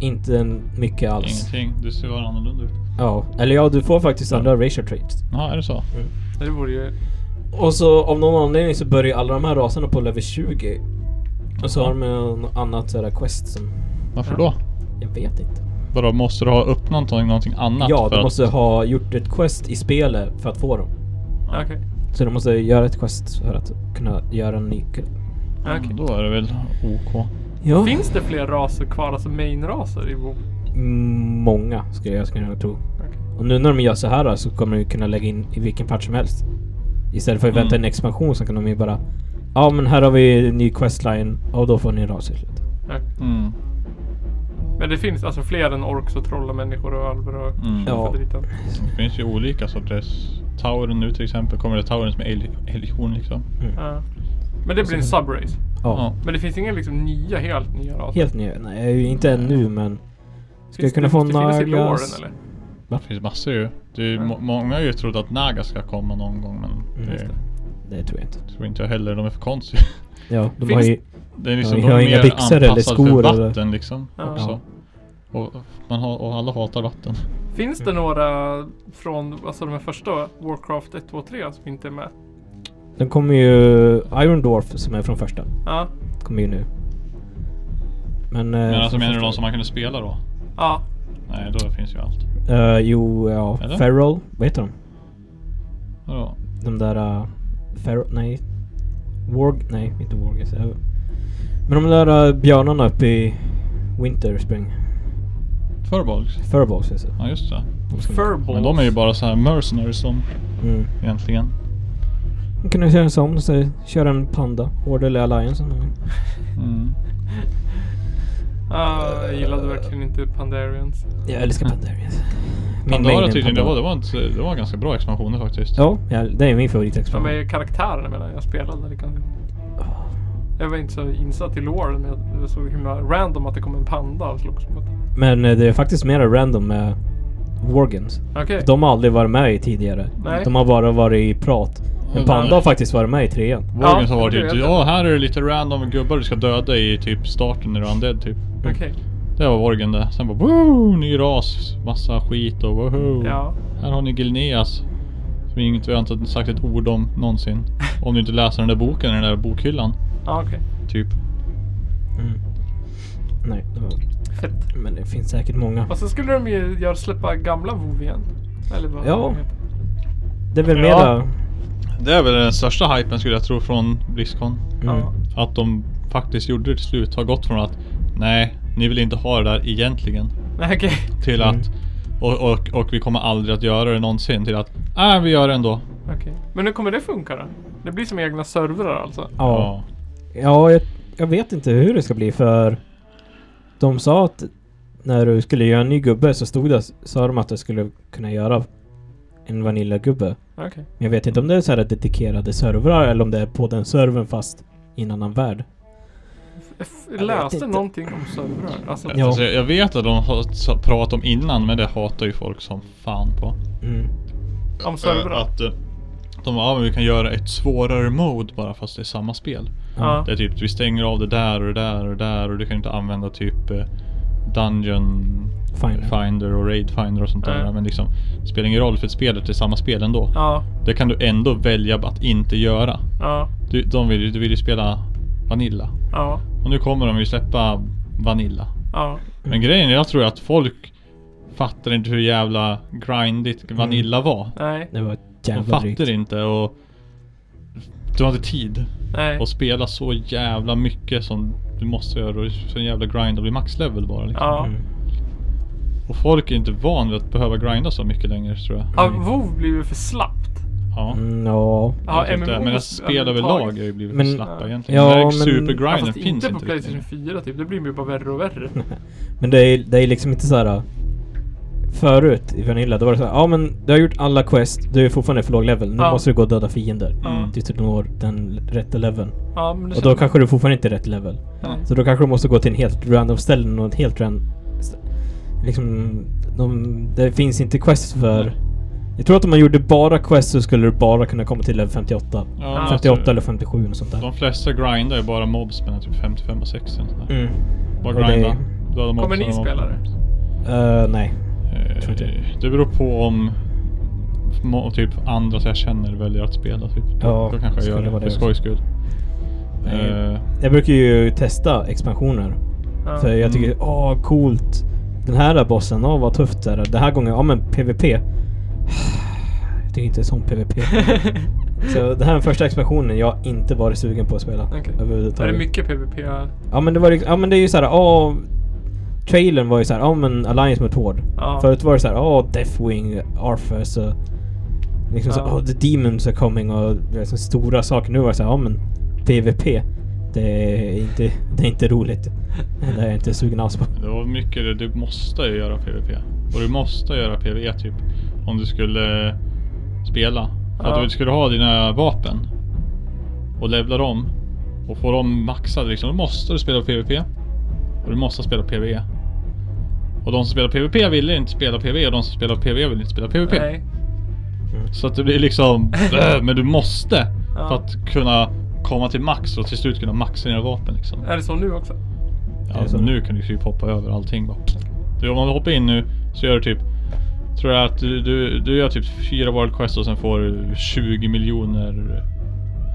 [SPEAKER 3] inte en mycket alls.
[SPEAKER 4] Ingenting. Du ser bara annorlunda ut.
[SPEAKER 3] Ja, eller ja du får faktiskt andra racial traits.
[SPEAKER 4] Jaha, är det så?
[SPEAKER 2] Det vore ju...
[SPEAKER 3] Och så av någon anledning så börjar ju alla de här raserna på level 20. Och så har de något annat sådär quest som...
[SPEAKER 4] Varför
[SPEAKER 2] Ja.
[SPEAKER 4] då?
[SPEAKER 3] Jag vet inte.
[SPEAKER 4] Vadå, måste du ha öppnat någonting, någonting annat?
[SPEAKER 3] Ja,
[SPEAKER 4] för
[SPEAKER 3] du
[SPEAKER 4] att-
[SPEAKER 3] måste ha gjort ett quest i spelet för att få dem.
[SPEAKER 2] Ja, Okej.
[SPEAKER 3] Så du måste göra ett quest för att kunna göra en nyckel.
[SPEAKER 2] Ja,
[SPEAKER 4] Ja,
[SPEAKER 2] okej.
[SPEAKER 4] Då är det väl OK.
[SPEAKER 3] Ja.
[SPEAKER 2] Finns det fler raser kvar, alltså main-raser i WoW?
[SPEAKER 3] Mm, Många skulle jag kunna tro.
[SPEAKER 2] Okej.
[SPEAKER 3] Och nu när de gör så här då, så kommer de ju kunna lägga in i vilken patch som helst. Istället för att vänta
[SPEAKER 4] Mm.
[SPEAKER 3] en expansion så kan de ju bara... Ja men här har vi en ny questline och då får ni en ras i slutet.
[SPEAKER 2] Ja.
[SPEAKER 4] Mm.
[SPEAKER 2] Men det finns alltså fler än orks och troll och människor och alver och
[SPEAKER 4] Mm.
[SPEAKER 3] Ja.
[SPEAKER 2] faderiten.
[SPEAKER 4] Det finns ju olika sorters. Tauren nu till exempel, kommer det tauren som el- elhorn liksom?
[SPEAKER 3] Mm.
[SPEAKER 2] Ja. Men det blir
[SPEAKER 3] Alltså-
[SPEAKER 2] en subrace.
[SPEAKER 3] Ja.
[SPEAKER 2] Men det finns inga liksom nya, helt nya raser?
[SPEAKER 3] Helt ny. Nej, inte ännu men... Ska jag
[SPEAKER 2] Finns
[SPEAKER 3] kunna
[SPEAKER 2] det,
[SPEAKER 3] få
[SPEAKER 2] måste finnas i
[SPEAKER 3] Nagas?
[SPEAKER 2] låren eller?
[SPEAKER 4] Det finns massor ju. Det är, ju må- många har ju trott att Naga ska komma någon gång men
[SPEAKER 3] just
[SPEAKER 4] det
[SPEAKER 3] Det tror jag inte.
[SPEAKER 4] tror inte jag heller. De är för konstiga.
[SPEAKER 3] Ja, de
[SPEAKER 2] Finns-
[SPEAKER 3] har ju...
[SPEAKER 4] Det är liksom
[SPEAKER 3] Ja,
[SPEAKER 4] de
[SPEAKER 3] jag har
[SPEAKER 4] är
[SPEAKER 3] inga
[SPEAKER 4] mer
[SPEAKER 3] byxor eller
[SPEAKER 4] anpassade
[SPEAKER 3] skor
[SPEAKER 4] för
[SPEAKER 3] eller-
[SPEAKER 4] vatten liksom
[SPEAKER 2] Ja.
[SPEAKER 4] också. Och, man har, och alla hatar vatten.
[SPEAKER 2] Finns
[SPEAKER 3] Mm.
[SPEAKER 2] det några från alltså de här första Warcraft 1, 2, 3 som inte är med?
[SPEAKER 3] Den kommer ju... Iron Dwarf som är från första.
[SPEAKER 2] Ja.
[SPEAKER 3] Kommer ju nu. Men... eh,
[SPEAKER 4] Men alltså
[SPEAKER 3] från
[SPEAKER 4] menar du
[SPEAKER 3] första-
[SPEAKER 4] de som man kunde spela då?
[SPEAKER 2] Ja.
[SPEAKER 4] Nej, då finns ju allt.
[SPEAKER 3] Eh, jo, ja.
[SPEAKER 4] Eller?
[SPEAKER 3] Feral. Vad heter de?
[SPEAKER 4] Vadå?
[SPEAKER 3] De där... Uh, Feral... Nej. Warg... Nej, inte Warg. Uh, men de där eh, björnarna uppe i... Winter Spring.
[SPEAKER 4] Furbolgs?
[SPEAKER 3] Furballs heter
[SPEAKER 4] liksom.
[SPEAKER 3] det.
[SPEAKER 4] Ja just det.
[SPEAKER 3] De ska-
[SPEAKER 2] Furballs.
[SPEAKER 4] Men de är ju bara så här mercenaries som
[SPEAKER 3] Mm.
[SPEAKER 4] egentligen.
[SPEAKER 3] Man kunde köra en sån. Så köra en panda. Order eller Alliance. eller någonting.
[SPEAKER 4] Mm.
[SPEAKER 2] Ja, jag gillade verkligen inte Pandarians.
[SPEAKER 3] Jag älskar Pandarians. Min main
[SPEAKER 4] Pandora
[SPEAKER 3] är
[SPEAKER 4] tydligen, det
[SPEAKER 3] Pandora.
[SPEAKER 4] var, det, var inte, det var ganska bra expansioner faktiskt.
[SPEAKER 3] Ja, ja, det är min
[SPEAKER 2] De
[SPEAKER 3] favoritexpansion.
[SPEAKER 2] är karaktärerna menar jag, jag spelade. Det kan... Jag var inte så insatt i låren men jag- det var så himla random att det kom en panda och slogs mot.
[SPEAKER 3] Men eh, det är faktiskt mera random med Wargans.
[SPEAKER 2] Okej.
[SPEAKER 3] De har aldrig varit med i tidigare.
[SPEAKER 2] Nej.
[SPEAKER 3] De har bara varit i prat. Men
[SPEAKER 4] Mm.
[SPEAKER 3] Panda har faktiskt varit med i trean.
[SPEAKER 4] Vågen
[SPEAKER 2] Ja,
[SPEAKER 4] har varit
[SPEAKER 2] det
[SPEAKER 4] typ,
[SPEAKER 2] vet jag.
[SPEAKER 4] ja här är det lite random gubbar du ska döda i typ starten när du är undead typ.
[SPEAKER 2] Okej.
[SPEAKER 4] Det var Vorgen det. Sen bara woo, ny ras, massa skit och woho.
[SPEAKER 2] Ja.
[SPEAKER 4] Här har ni Gilneas. Som inget vi har inte sagt ett ord om någonsin. Om du inte läser den där boken i den där bokhyllan.
[SPEAKER 2] Ja, okej.
[SPEAKER 4] Typ.
[SPEAKER 3] Mm. Nej, det var-
[SPEAKER 2] Fett.
[SPEAKER 3] men det finns säkert många.
[SPEAKER 2] Och så skulle de ju göra släppa gamla WoW igen. Eller vad
[SPEAKER 3] Ja.
[SPEAKER 2] de heter.
[SPEAKER 3] Det är väl
[SPEAKER 4] Ja.
[SPEAKER 3] mera...
[SPEAKER 4] Det är väl den största hypen skulle jag tro från Blizzcon.
[SPEAKER 3] Mm.
[SPEAKER 2] Ja.
[SPEAKER 4] Att de faktiskt gjorde det till slut. Har gått från att nej, ni vill inte ha det där egentligen.
[SPEAKER 2] Nej, okej.
[SPEAKER 4] Till
[SPEAKER 3] Mm.
[SPEAKER 4] att och, och, och vi kommer aldrig att göra det någonsin. Till att nej, vi gör det ändå.
[SPEAKER 2] Okej. Men hur kommer det funka då? Det blir som egna servrar alltså?
[SPEAKER 3] Ja. Ja, jag, jag vet inte hur det ska bli för... De sa att när du skulle göra en ny gubbe så stod det, sa de att du skulle kunna göra en vaniljagubbe.
[SPEAKER 2] Okej.
[SPEAKER 3] Men jag vet inte om det är så här dedikerade servrar eller om det är på den servern fast i en annan värld.
[SPEAKER 2] Jag f-
[SPEAKER 3] vet
[SPEAKER 2] läste
[SPEAKER 3] inte.
[SPEAKER 2] någonting om servrar. Alltså,
[SPEAKER 3] Ja.
[SPEAKER 4] Alltså, jag jag vet att de har s- pratat om innan men det hatar ju folk som fan på.
[SPEAKER 2] Mm. om
[SPEAKER 4] Eh,
[SPEAKER 2] servrar.
[SPEAKER 4] Att eh, de bara, ja, men vi kan göra ett svårare mode bara fast det är samma spel.
[SPEAKER 2] Ja.
[SPEAKER 4] Det är typ, vi stänger av det där och det där och det där och du kan inte använda typ eh, Dungeon
[SPEAKER 3] Finder.
[SPEAKER 4] Finder och Raid Finder och sånt där.
[SPEAKER 2] Nej.
[SPEAKER 4] Men liksom, det spelar ingen roll för spelet är samma spel ändå.
[SPEAKER 2] Ja.
[SPEAKER 4] Det kan du ändå välja att inte göra.
[SPEAKER 2] Ja.
[SPEAKER 4] Du, de vill, ju- du vill ju spela Vanilla.
[SPEAKER 2] Ja.
[SPEAKER 4] Och nu kommer de ju släppa Vanilla.
[SPEAKER 2] Ja.
[SPEAKER 4] Men grejen är, jag tror att folk fattar inte hur jävla grindigt Vanilla var.
[SPEAKER 2] Nej.
[SPEAKER 3] Det var
[SPEAKER 4] De
[SPEAKER 3] jävla drygt.
[SPEAKER 4] fattar inte och du har inte tid
[SPEAKER 2] Nej.
[SPEAKER 4] att spela så jävla mycket som du måste göra. och Så en jävla grind och bli maxlevel bara. Liksom.
[SPEAKER 2] Ja.
[SPEAKER 3] Mm.
[SPEAKER 4] Och folk är inte van vid att behöva grinda så mycket längre tror jag.
[SPEAKER 2] Har WoW blivit för slappt?
[SPEAKER 4] Ja.
[SPEAKER 3] Mm, ja.
[SPEAKER 4] Jag
[SPEAKER 2] Ja,
[SPEAKER 4] vet inte,
[SPEAKER 2] MMO
[SPEAKER 4] men
[SPEAKER 2] måste-
[SPEAKER 4] spel överlag har ju blivit för
[SPEAKER 3] Men-
[SPEAKER 4] slappa egentligen.
[SPEAKER 3] Ja,
[SPEAKER 4] Ja, men...
[SPEAKER 3] men-
[SPEAKER 2] Ja,
[SPEAKER 4] Supergrinden
[SPEAKER 2] fast
[SPEAKER 4] finns
[SPEAKER 2] inte på
[SPEAKER 4] inte riktigt
[SPEAKER 2] Playstation 4 typ. Det blir ju bara värre och värre.
[SPEAKER 3] Men det är, det är liksom inte så här... äh, förut i Vanilla, då var det så här, ja men du har gjort alla quest, du är fortfarande för låg level, nu
[SPEAKER 2] Ja.
[SPEAKER 3] måste du gå och döda fiender.
[SPEAKER 2] Ja.
[SPEAKER 3] Tills du når den rätta leveln.
[SPEAKER 2] Ja, men det
[SPEAKER 3] Och då
[SPEAKER 2] känns-
[SPEAKER 3] kanske du fortfarande inte är rätt level.
[SPEAKER 4] Ja.
[SPEAKER 3] Så då kanske du måste gå till en helt random ställe och en helt random... Liksom, de, det finns inte quests för... Jag tror att om man gjorde bara quests så skulle du bara kunna komma till level 58.
[SPEAKER 4] Ja, alltså,
[SPEAKER 3] 58 eller 57 och sånt där.
[SPEAKER 4] De flesta grindar ju bara mobs mellan typ 55 och 60. och sånt där.
[SPEAKER 3] Mm.
[SPEAKER 4] Bara
[SPEAKER 3] Och det-
[SPEAKER 4] grinda. Döda mobs,
[SPEAKER 2] Kommer ni
[SPEAKER 4] döda mobs.
[SPEAKER 2] spela det?
[SPEAKER 3] Eh, nej.
[SPEAKER 4] Eh,
[SPEAKER 3] Tror inte.
[SPEAKER 4] Det beror på om mo- typ andra som jag känner väljer att spela typ.
[SPEAKER 3] Ja,
[SPEAKER 4] Då kanske jag
[SPEAKER 3] skulle
[SPEAKER 4] gör det
[SPEAKER 3] vara
[SPEAKER 4] för
[SPEAKER 3] det
[SPEAKER 4] skojs skull.
[SPEAKER 3] Nej.
[SPEAKER 4] Eh,
[SPEAKER 3] Jag brukar ju testa expansioner.
[SPEAKER 2] Ja.
[SPEAKER 3] För jag tycker,
[SPEAKER 4] Mm.
[SPEAKER 3] åh coolt. Den här där bossen, åh vad tufft det är. Den här gången, ja men PVP. Jag tycker inte som PVP. så det här är den första expansionen jag inte varit sugen på att spela.
[SPEAKER 2] Okej.
[SPEAKER 3] Överhuvudtaget.
[SPEAKER 2] Är det mycket PVP?
[SPEAKER 3] Ja men det var ju- ja men det är ju såhär, åh... Trailern var ju såhär, ja men Alliance mot Horde.
[SPEAKER 2] Ja.
[SPEAKER 3] Förut var det såhär, åh Deathwing, Arthas och... Liksom så,
[SPEAKER 2] Ja.
[SPEAKER 3] åh the Demons are coming och det är så stora saker. Nu var det såhär, ja men PVP. Det är inte, det är inte roligt. Det är jag inte sugen alls på.
[SPEAKER 4] Det var mycket det, du måste ju göra PVP. Och du måste göra PVE typ. Om du skulle spela. För
[SPEAKER 2] Ja.
[SPEAKER 4] att du skulle ha dina vapen. Och levla dem. Och få dem maxade liksom. Då måste du spela PVP. Och du måste spela PVE. Och de som spelar PVP ville inte spela PVE och de som spelar PVE ville inte spela PVP.
[SPEAKER 2] Nej.
[SPEAKER 3] Mm.
[SPEAKER 4] Så att det blir liksom, "Bäh", men du måste.
[SPEAKER 2] Ja.
[SPEAKER 4] För att kunna komma till max och till slut kunna maxa dina vapen liksom.
[SPEAKER 2] Är det så nu också?
[SPEAKER 3] Är det så?
[SPEAKER 4] Ja, nu kan du ju hoppa över allting bara. Du, om man hoppar in nu så gör du typ Tror jag att du, du, du gör typ fyra world quests och sen får du 20 miljoner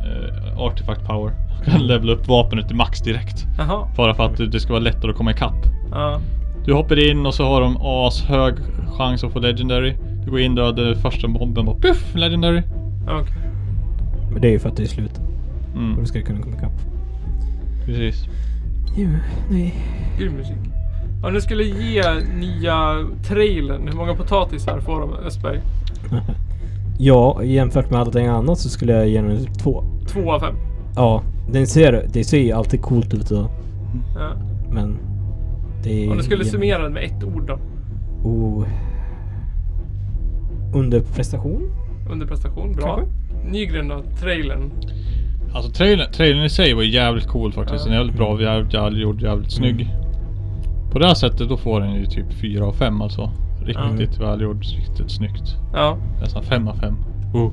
[SPEAKER 4] eh, artifact power. Du kan levela upp vapnet till max direkt.
[SPEAKER 2] Jaha.
[SPEAKER 4] Bara för att det ska vara lättare att komma ikapp.
[SPEAKER 2] Ja.
[SPEAKER 4] Du hoppar in och så har de ashög chans att få legendary. Du går in, dödar första bomben bara puff, legendary.
[SPEAKER 2] Okej.
[SPEAKER 3] Men det är ju för att det är slut. Och
[SPEAKER 4] Mm,
[SPEAKER 3] då ska jag kunna komma ikapp.
[SPEAKER 4] precis.
[SPEAKER 3] Jo, nej.
[SPEAKER 2] Grym musik. Om du skulle ge nya trailern, hur många potatisar får de Östberg?
[SPEAKER 3] Ja, jämfört med allting annat så skulle jag ge den två.
[SPEAKER 2] Två av fem.
[SPEAKER 3] Ja, den ser, det ser ju alltid coolt ut och,
[SPEAKER 2] Ja.
[SPEAKER 3] men... Det är
[SPEAKER 2] Om du skulle
[SPEAKER 3] igen-
[SPEAKER 2] summera den med ett ord då?
[SPEAKER 3] Oh. Underprestation?
[SPEAKER 2] Under prestation, bra.
[SPEAKER 3] Kanske.
[SPEAKER 2] Nygren då, trailern.
[SPEAKER 4] Alltså trailern, trailern i sig var jävligt cool faktiskt.
[SPEAKER 2] Ja.
[SPEAKER 4] Den är jävligt bra, jävligt välgjord, jävligt snygg. På det här sättet då får den ju typ 4 av 5 alltså. Riktigt välgjord, riktigt snyggt.
[SPEAKER 2] Ja.
[SPEAKER 4] Nästan 5 av 5. Oh.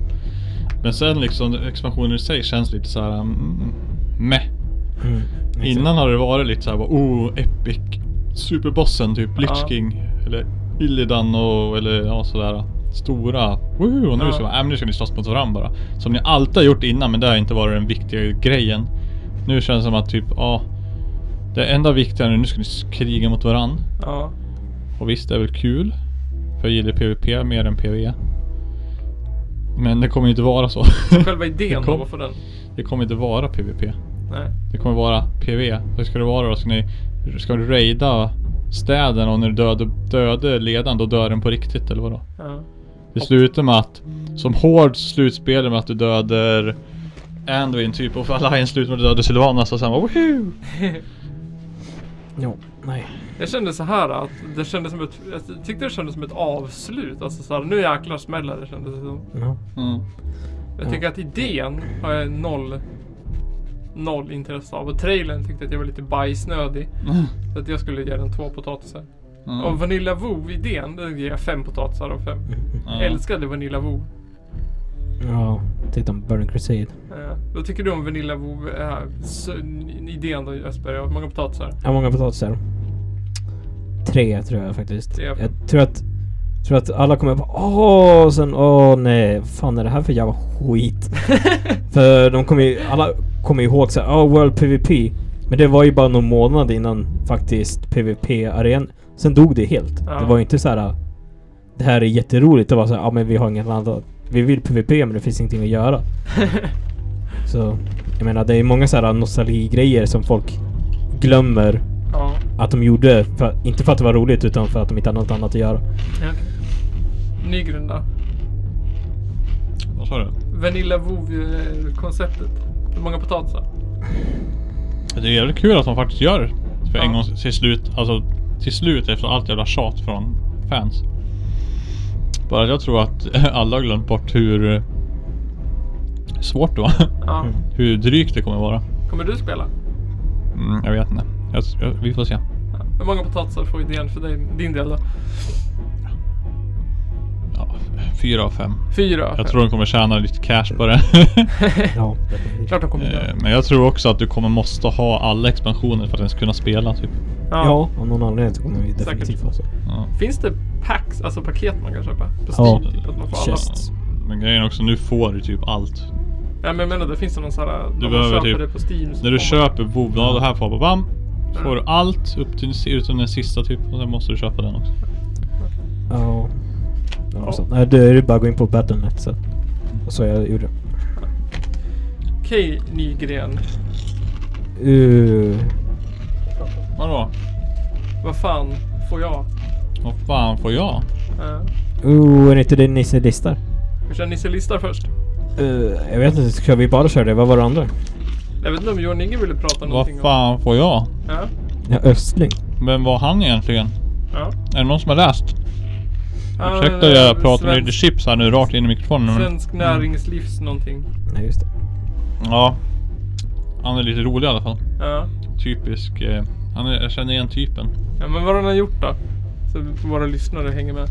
[SPEAKER 4] Men sen liksom expansionen i sig känns lite så här. Mm, meh.
[SPEAKER 3] Mm.
[SPEAKER 4] Innan har det varit lite så här bara, oh epic. Superbossen typ, Lich
[SPEAKER 2] Ja.
[SPEAKER 4] King. Eller Illidan och eller ja sådär. Stora, woho! Och nu
[SPEAKER 2] Ja.
[SPEAKER 4] så bara, äh, men nu ska ni slåss mot varandra bara. Som ni alltid har gjort innan men det har inte varit den viktiga grejen. Nu känns det som att typ, ja. Det enda viktiga nu, nu ska ni s- kriga mot varandra.
[SPEAKER 2] Ja.
[SPEAKER 4] Och visst, det är väl kul. För jag gillar PVP mer än PVE. Men det kommer ju inte vara så.
[SPEAKER 2] Själva idén
[SPEAKER 4] Det
[SPEAKER 2] då,
[SPEAKER 4] kom-
[SPEAKER 2] varför den?
[SPEAKER 4] det kommer inte vara PVP.
[SPEAKER 2] Nej.
[SPEAKER 4] Det kommer vara PV. Hur ska det vara då? Ska, ni, ska du raida städen och när du dödar dödar ledaren då dör den på riktigt eller vadå?
[SPEAKER 2] Ja.
[SPEAKER 4] Det slutar med att som hård slutspel med att du dödar Anduin typ och för Alliance slutar med att du dödar Sylvanas och sen bara woho!
[SPEAKER 3] Ja, nej.
[SPEAKER 2] Jag kände så här att det kändes som ett, jag tyckte det kändes som ett avslut. Alltså så här, nu jäklar smäller det kändes det som.
[SPEAKER 3] Ja.
[SPEAKER 4] Mm.
[SPEAKER 2] Jag tycker att idén har jag noll, noll intresse av. Och trailern tyckte att jag var lite bajsnödig. Så att jag skulle ge den två potatisar.
[SPEAKER 4] Mm.
[SPEAKER 2] Och Vanilla Voo-idén, den ger jag fem potatisar av fem.
[SPEAKER 3] Mm,
[SPEAKER 4] Ja.
[SPEAKER 2] Älskade Vanilla Voo.
[SPEAKER 3] Ja, titta på Burning Crusade.
[SPEAKER 2] Eh, vad tycker du om Vanilla Voo, eh, s- idén då Jesper? Hur många potatisar?
[SPEAKER 3] Hur många potatisar? Tre tror jag faktiskt.
[SPEAKER 2] Tre.
[SPEAKER 3] Jag tror att... Tror att alla kommer bara åh, och sen åh nej, vad fan är det här för jävla skit? för de kommer ju, alla kommer ju ihåg såhär, åh World PVP. Men det var ju bara någon månad innan faktiskt PVP-arenan. Sen dog det helt.
[SPEAKER 2] Ja.
[SPEAKER 3] Det var ju inte så här. det här är jätteroligt. Det var såhär, ja men vi har inget annat, vi vill PVP men det finns ingenting att göra. så, jag menar det är många såhär nostalgigrejer som folk glömmer
[SPEAKER 2] Ja.
[SPEAKER 3] att de gjorde, för, inte för att det var roligt utan för att de inte hade något annat att göra.
[SPEAKER 2] ja. Nygren då?
[SPEAKER 4] Vad sa du?
[SPEAKER 2] Vanilla Voo-konceptet. Hur många potatisar?
[SPEAKER 4] Det är jävligt kul att de faktiskt gör det. För
[SPEAKER 2] Ja.
[SPEAKER 4] en gång till slut, alltså till slut efter allt jävla tjat från fans. Bara att jag tror att alla har glömt bort hur eh, svårt det var.
[SPEAKER 2] Ja.
[SPEAKER 4] Hur drygt det kommer vara.
[SPEAKER 2] Kommer du spela?
[SPEAKER 4] Mm, jag vet inte. Jag, jag, vi får se.
[SPEAKER 2] Ja. Hur många potatisar får idén för dig, din del då?
[SPEAKER 4] Ja, fyra av fem.
[SPEAKER 2] Fyra?
[SPEAKER 4] Jag tror de kommer tjäna lite cash på det.
[SPEAKER 3] Ja,
[SPEAKER 2] Klart de kommer
[SPEAKER 4] Eh,
[SPEAKER 2] göra.
[SPEAKER 4] Men jag tror också att du kommer måste ha alla expansioner för att ens kunna spela typ.
[SPEAKER 3] ja av någon anledning så kommer vi definitivt
[SPEAKER 2] Säkert.
[SPEAKER 3] vara så.
[SPEAKER 4] Ja.
[SPEAKER 2] Finns det packs, alltså paket man kan köpa? På Steam?
[SPEAKER 3] Ja.
[SPEAKER 2] Typ, att man får alla?
[SPEAKER 3] Chests.
[SPEAKER 4] Men grejen är också, nu får du typ allt.
[SPEAKER 2] Ja, men jag menar, det finns det någon sån här... Du
[SPEAKER 4] behöver
[SPEAKER 2] köper
[SPEAKER 4] typ-
[SPEAKER 2] det på Steam så
[SPEAKER 4] När du
[SPEAKER 2] får man-
[SPEAKER 4] köper WoW, ja, det här får jag bam. Så får du
[SPEAKER 2] Ja.
[SPEAKER 4] allt upp till utom den sista typ och sen måste du köpa den också.
[SPEAKER 3] Ja. ja. Så. Nej, då är det bara att gå in på Battlenet sen. Och så jag gjorde.
[SPEAKER 2] Okej, Nygren.
[SPEAKER 3] Uh,
[SPEAKER 4] Vadå?
[SPEAKER 2] Vad fan får jag?
[SPEAKER 4] Vad fan får jag?
[SPEAKER 2] Uh,
[SPEAKER 3] uh, är det inte det Nisse listar?
[SPEAKER 2] vi kör Nisse listar först.
[SPEAKER 3] Eh, jag vet inte, ska vi bara köra det? Vad var det andra?
[SPEAKER 2] Jag vet inte om Johan Inge ville prata någonting
[SPEAKER 4] Vad fan får jag?
[SPEAKER 2] om... Ja.
[SPEAKER 3] Ja, Östling.
[SPEAKER 4] Vem var han egentligen?
[SPEAKER 2] Ja.
[SPEAKER 4] Är det någon som har läst?
[SPEAKER 2] Ja,
[SPEAKER 4] Ursäkta
[SPEAKER 2] eh,
[SPEAKER 4] jag pratar med
[SPEAKER 2] svensk-
[SPEAKER 4] lite chips här nu Mm. rakt in i mikrofonen. men-
[SPEAKER 2] Svensk näringslivs någonting.
[SPEAKER 3] Nej, just det.
[SPEAKER 4] Ja. Han är lite rolig i alla fall.
[SPEAKER 2] Ja.
[SPEAKER 4] Typisk. Eh, han är, jag känner igen typen.
[SPEAKER 2] ja, men vad har han har gjort då? Så våra lyssnare hänger med.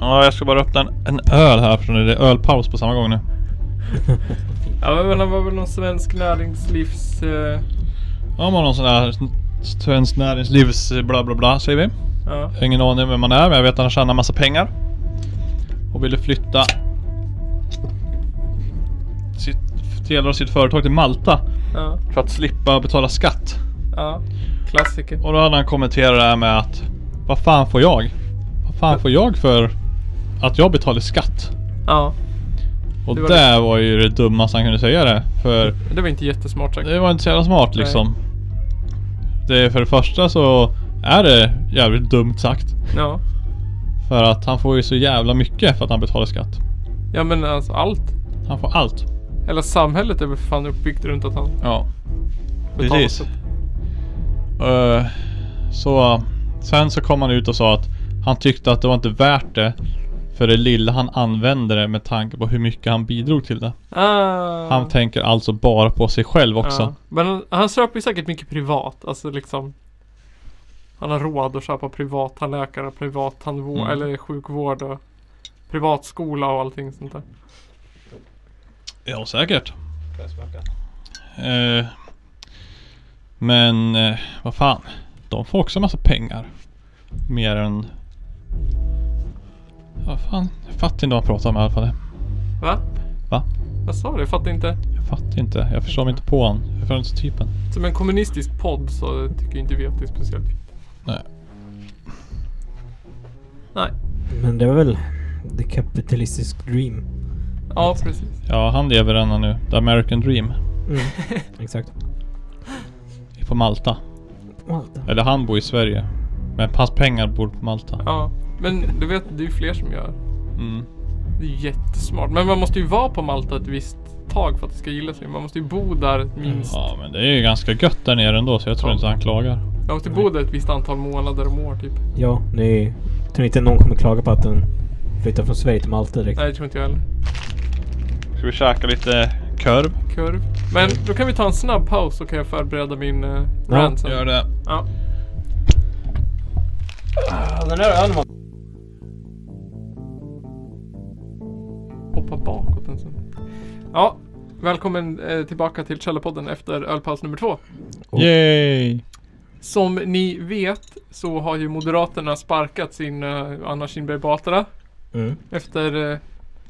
[SPEAKER 4] Ja, jag ska bara öppna en, en öl här för det är ölpaus på samma gång nu.
[SPEAKER 2] Ja, men han var väl någon svensk näringslivs... eh,
[SPEAKER 4] Ja, man har någon sån där Svenskt Näringslivs eh, bla bla bla säger vi.
[SPEAKER 2] ja.
[SPEAKER 4] Jag har ingen aning om vem man är men jag vet att han tjänar massa pengar. Och ville flytta sitt, delar av sitt företag till Malta
[SPEAKER 2] Ja.
[SPEAKER 4] för att slippa betala skatt.
[SPEAKER 2] Ja. Klassiker.
[SPEAKER 4] Och då hade han kommenterat det här med att Vad fan får jag? Vad fan får jag för att jag betalar skatt?
[SPEAKER 2] Ja.
[SPEAKER 4] Och
[SPEAKER 2] Det
[SPEAKER 4] det
[SPEAKER 2] var
[SPEAKER 4] var, ju det dummaste han kunde säga det. För
[SPEAKER 2] Det var inte jättesmart sagt.
[SPEAKER 4] det var inte så jävla smart liksom. Det, för det första så är det jävligt dumt sagt.
[SPEAKER 2] Ja.
[SPEAKER 4] För att han får ju så jävla mycket för att han betalar skatt.
[SPEAKER 2] Ja men alltså allt.
[SPEAKER 4] Han får allt.
[SPEAKER 2] Hela samhället är väl för fan uppbyggt runt att han
[SPEAKER 4] Ja.
[SPEAKER 2] betalar
[SPEAKER 4] Precis.
[SPEAKER 2] skatt.
[SPEAKER 4] Eh, så sen så kom han ut och sa att han tyckte att det var inte värt det för det lilla han använde det med tanke på hur mycket han bidrog till det.
[SPEAKER 2] Ah.
[SPEAKER 4] Han tänker alltså bara på sig själv också.
[SPEAKER 2] Ja. Men han, han köper ju säkert mycket privat. Alltså liksom. Han har råd att köpa privat tandläkare, privat tandvård
[SPEAKER 4] Mm.
[SPEAKER 2] eller sjukvård och privatskola och allting sånt där.
[SPEAKER 4] Ja, säkert. Eh, men eh, vad fan. De får också massa pengar. Mer än... Vad fan. Jag fattar inte vad han pratar om i alla fall.
[SPEAKER 2] Va?
[SPEAKER 4] Va?
[SPEAKER 2] Vad sa du? Jag fattar inte.
[SPEAKER 4] Jag fattar inte. Jag förstår mig inte på han. Jag förstår inte typen.
[SPEAKER 2] Som en kommunistisk podd så tycker inte vi att det är speciellt fint.
[SPEAKER 4] Nej.
[SPEAKER 2] Nej.
[SPEAKER 3] Men det var väl The Capitalistisk Dream.
[SPEAKER 2] Ja precis.
[SPEAKER 4] Ja, han lever ännu nu. The American Dream.
[SPEAKER 3] Mm. Exakt.
[SPEAKER 4] På Malta.
[SPEAKER 3] Malta.
[SPEAKER 4] Eller han bor i Sverige. Men hans pengar bor på Malta.
[SPEAKER 2] Ja. Men du vet, det är ju fler som gör.
[SPEAKER 4] Mm.
[SPEAKER 2] Det är ju jättesmart. Men man måste ju vara på Malta ett visst tag för att det ska gilla sig. Man måste ju bo där minst.
[SPEAKER 4] Ja, men det är ju ganska gött där nere ändå så jag tror
[SPEAKER 2] Ja.
[SPEAKER 4] inte han klagar.
[SPEAKER 2] Man måste bo där ett visst antal månader om år typ.
[SPEAKER 3] Ja, nej. Jag tror inte någon kommer klaga på att den flyttar från Sverige till Malta direkt.
[SPEAKER 2] Nej, det tror inte jag heller.
[SPEAKER 4] Ska vi käka lite korv?
[SPEAKER 2] Kurv. Men då kan vi ta en snabb paus så kan jag förbereda min uh,
[SPEAKER 3] Ja,
[SPEAKER 2] rant sen.
[SPEAKER 4] Gör det.
[SPEAKER 2] Ja.
[SPEAKER 3] den där ölen var...
[SPEAKER 2] Hoppa bakåt en stund. Ja, välkommen eh, tillbaka till Källarpodden efter ölpaus nummer två.
[SPEAKER 4] Yay!
[SPEAKER 2] Som ni vet så har ju Moderaterna sparkat sin eh, Anna Kinberg Batra
[SPEAKER 3] Mm.
[SPEAKER 2] efter, eh,